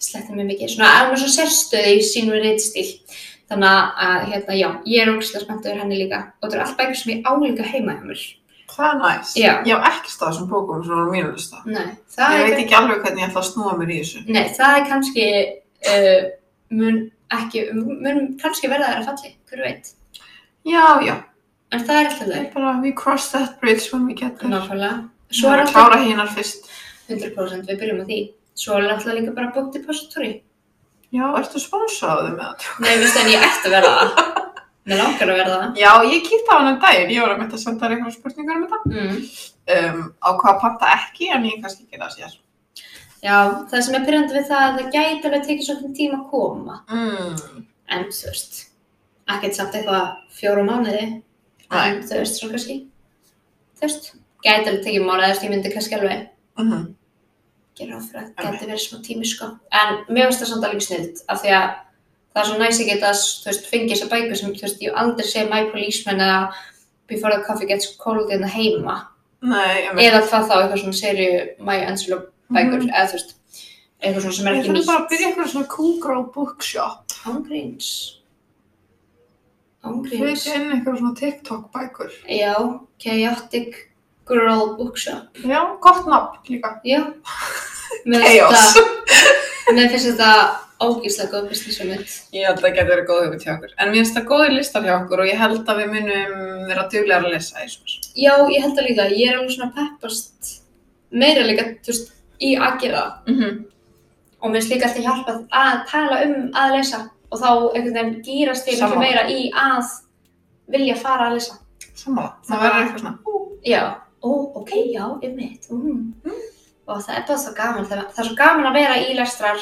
[SPEAKER 1] sletti mig mikið, svona alveg svona sérstöði í sínum reyndstíl. Þannig að hérna, já, ég er ógæslega spennt yfir henni líka og þetta eru allt bækur sem ég álíka heima hjá mér.
[SPEAKER 2] Það er næst.
[SPEAKER 1] Já.
[SPEAKER 2] Ég hef ekki stað þessum bókum sem voru á mínu lista.
[SPEAKER 1] Nei, það
[SPEAKER 2] Ég
[SPEAKER 1] er
[SPEAKER 2] veit ekki alveg hvernig ég ætla að snúa mér í þessu.
[SPEAKER 1] Nei, það er kannski uh, mun ekki, mun kannski verða þær að falli, hver veit.
[SPEAKER 2] Já, já.
[SPEAKER 1] En það er alltaf
[SPEAKER 2] Ég
[SPEAKER 1] leið.
[SPEAKER 2] bara, we cross that bridge when we get there.
[SPEAKER 1] Nákvæmlega.
[SPEAKER 2] Svo
[SPEAKER 1] Svo er
[SPEAKER 2] að
[SPEAKER 1] alltaf
[SPEAKER 2] klára hinar fyrst.
[SPEAKER 1] 100% við byrjum á því. Svo er alltaf líka bara bókt í positóri.
[SPEAKER 2] Já, ertu sponsoraðu með það?
[SPEAKER 1] Nei, við stæðum ég ætti að verða það. Mér langar að verða það.
[SPEAKER 2] Já, ég kýtti á hann um daginn. Ég var að mynda að senda þér einhverja spurningar um þetta.
[SPEAKER 1] Mm.
[SPEAKER 2] Um, á hvað að panta ekki, en ég kannski gera það sér.
[SPEAKER 1] Já, það sem er pyrrandi við það er að það gæti alveg tekið svolítið tíma að koma.
[SPEAKER 2] Mm.
[SPEAKER 1] En þú veist, ekkert samt eitthvað fjóra mánuði. En
[SPEAKER 2] Nei.
[SPEAKER 1] þú veist, svona kannski. Þú veist, gæti alveg tekið mánuði, þú veist, ég myndi kannski alveg
[SPEAKER 2] Mm
[SPEAKER 1] gera ráð fyrir að það
[SPEAKER 2] Alveg.
[SPEAKER 1] geti verið smá tími sko. En mér finnst það samt alveg snilt af því að það er svo næs að geta þú veist, fengið þessa bækur sem þú veist, ég hef aldrei segja My Policeman eða Before the Coffee Gets Cold in the heima
[SPEAKER 2] Nei, ég
[SPEAKER 1] eða hvað þá eitthvað svona serju My Angelou bækur eða þú veist eitthvað svona sem er
[SPEAKER 2] Mhm. Ég
[SPEAKER 1] ekki
[SPEAKER 2] þarf bara að
[SPEAKER 1] nýtt.
[SPEAKER 2] byrja eitthvað svona cool girl bookshop.
[SPEAKER 1] Ángríns. Ángríns.
[SPEAKER 2] Flytja inn eitthvað svona TikTok bækur.
[SPEAKER 1] Já, Chaotic Girl Bookshop.
[SPEAKER 2] Já, gott nafn líka.
[SPEAKER 1] Já. Mér finnst
[SPEAKER 2] Chaos.
[SPEAKER 1] þetta- Mér finnst þetta ógíslega góð business hugmynd.
[SPEAKER 2] Ég held að það getur verið góð hugmynd hjá okkur. En mér finnst það góðir listar hjá okkur og ég held að við munum vera duglegar að lesa í svona.
[SPEAKER 1] Já, ég held að líka, ég er alveg svona peppast meira líka, þú veist, í að gera það.
[SPEAKER 2] Mm -hmm.
[SPEAKER 1] og mér finnst líka alltaf hjálpa að tala um að lesa og þá einhvern veginn gýrast ég miklu
[SPEAKER 2] Sammála.
[SPEAKER 1] meira í að vilja fara að lesa.
[SPEAKER 2] Samanlega. Það verður eitthvað svona. ú,
[SPEAKER 1] Já, ó, ok, já, um mitt, mm. og það er bara svo gaman, það er, það er svo gaman að vera í lestrar,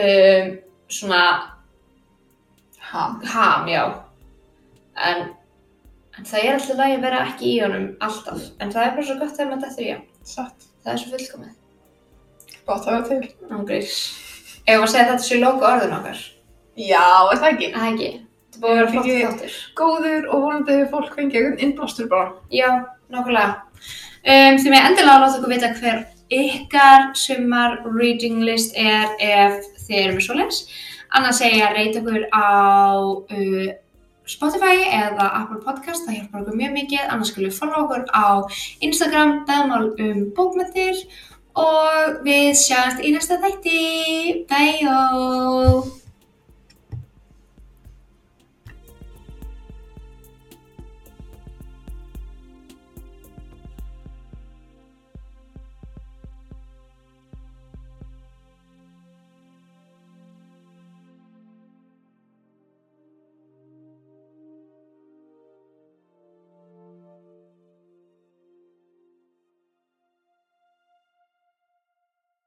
[SPEAKER 1] um, svona,
[SPEAKER 2] Ha.
[SPEAKER 1] ham, já, en, en það er alltaf lægi að vera ekki í honum alltaf, en það er bara svo gott þegar maður dettur í hann,
[SPEAKER 2] Satt.
[SPEAKER 1] það er svo fullkomið.
[SPEAKER 2] Gott að vera til.
[SPEAKER 1] Ángriðs. Ef maður segja að þetta sé loka orðin okkar.
[SPEAKER 2] Já, er það ekki?
[SPEAKER 1] Það ekki. Þetta búið að vera flott
[SPEAKER 2] Ekki-
[SPEAKER 1] þáttur.
[SPEAKER 2] Góður og vonandi hefur fólk fengið einhvern innblástur bara.
[SPEAKER 1] Já, nokkulega. Um, því með endilega láta okkur vita hver ykkar sumar reading list er ef þið eru með svoleiðs. Annars segja ég að reyta okkur á uh, Spotify eða Apple Podcast, það hjálpar okkur mjög mikið. Annars skulle við follow okkur á Instagram, beðmál um bókmyndir og við sjáumst í næsta þætti. Bye! -o.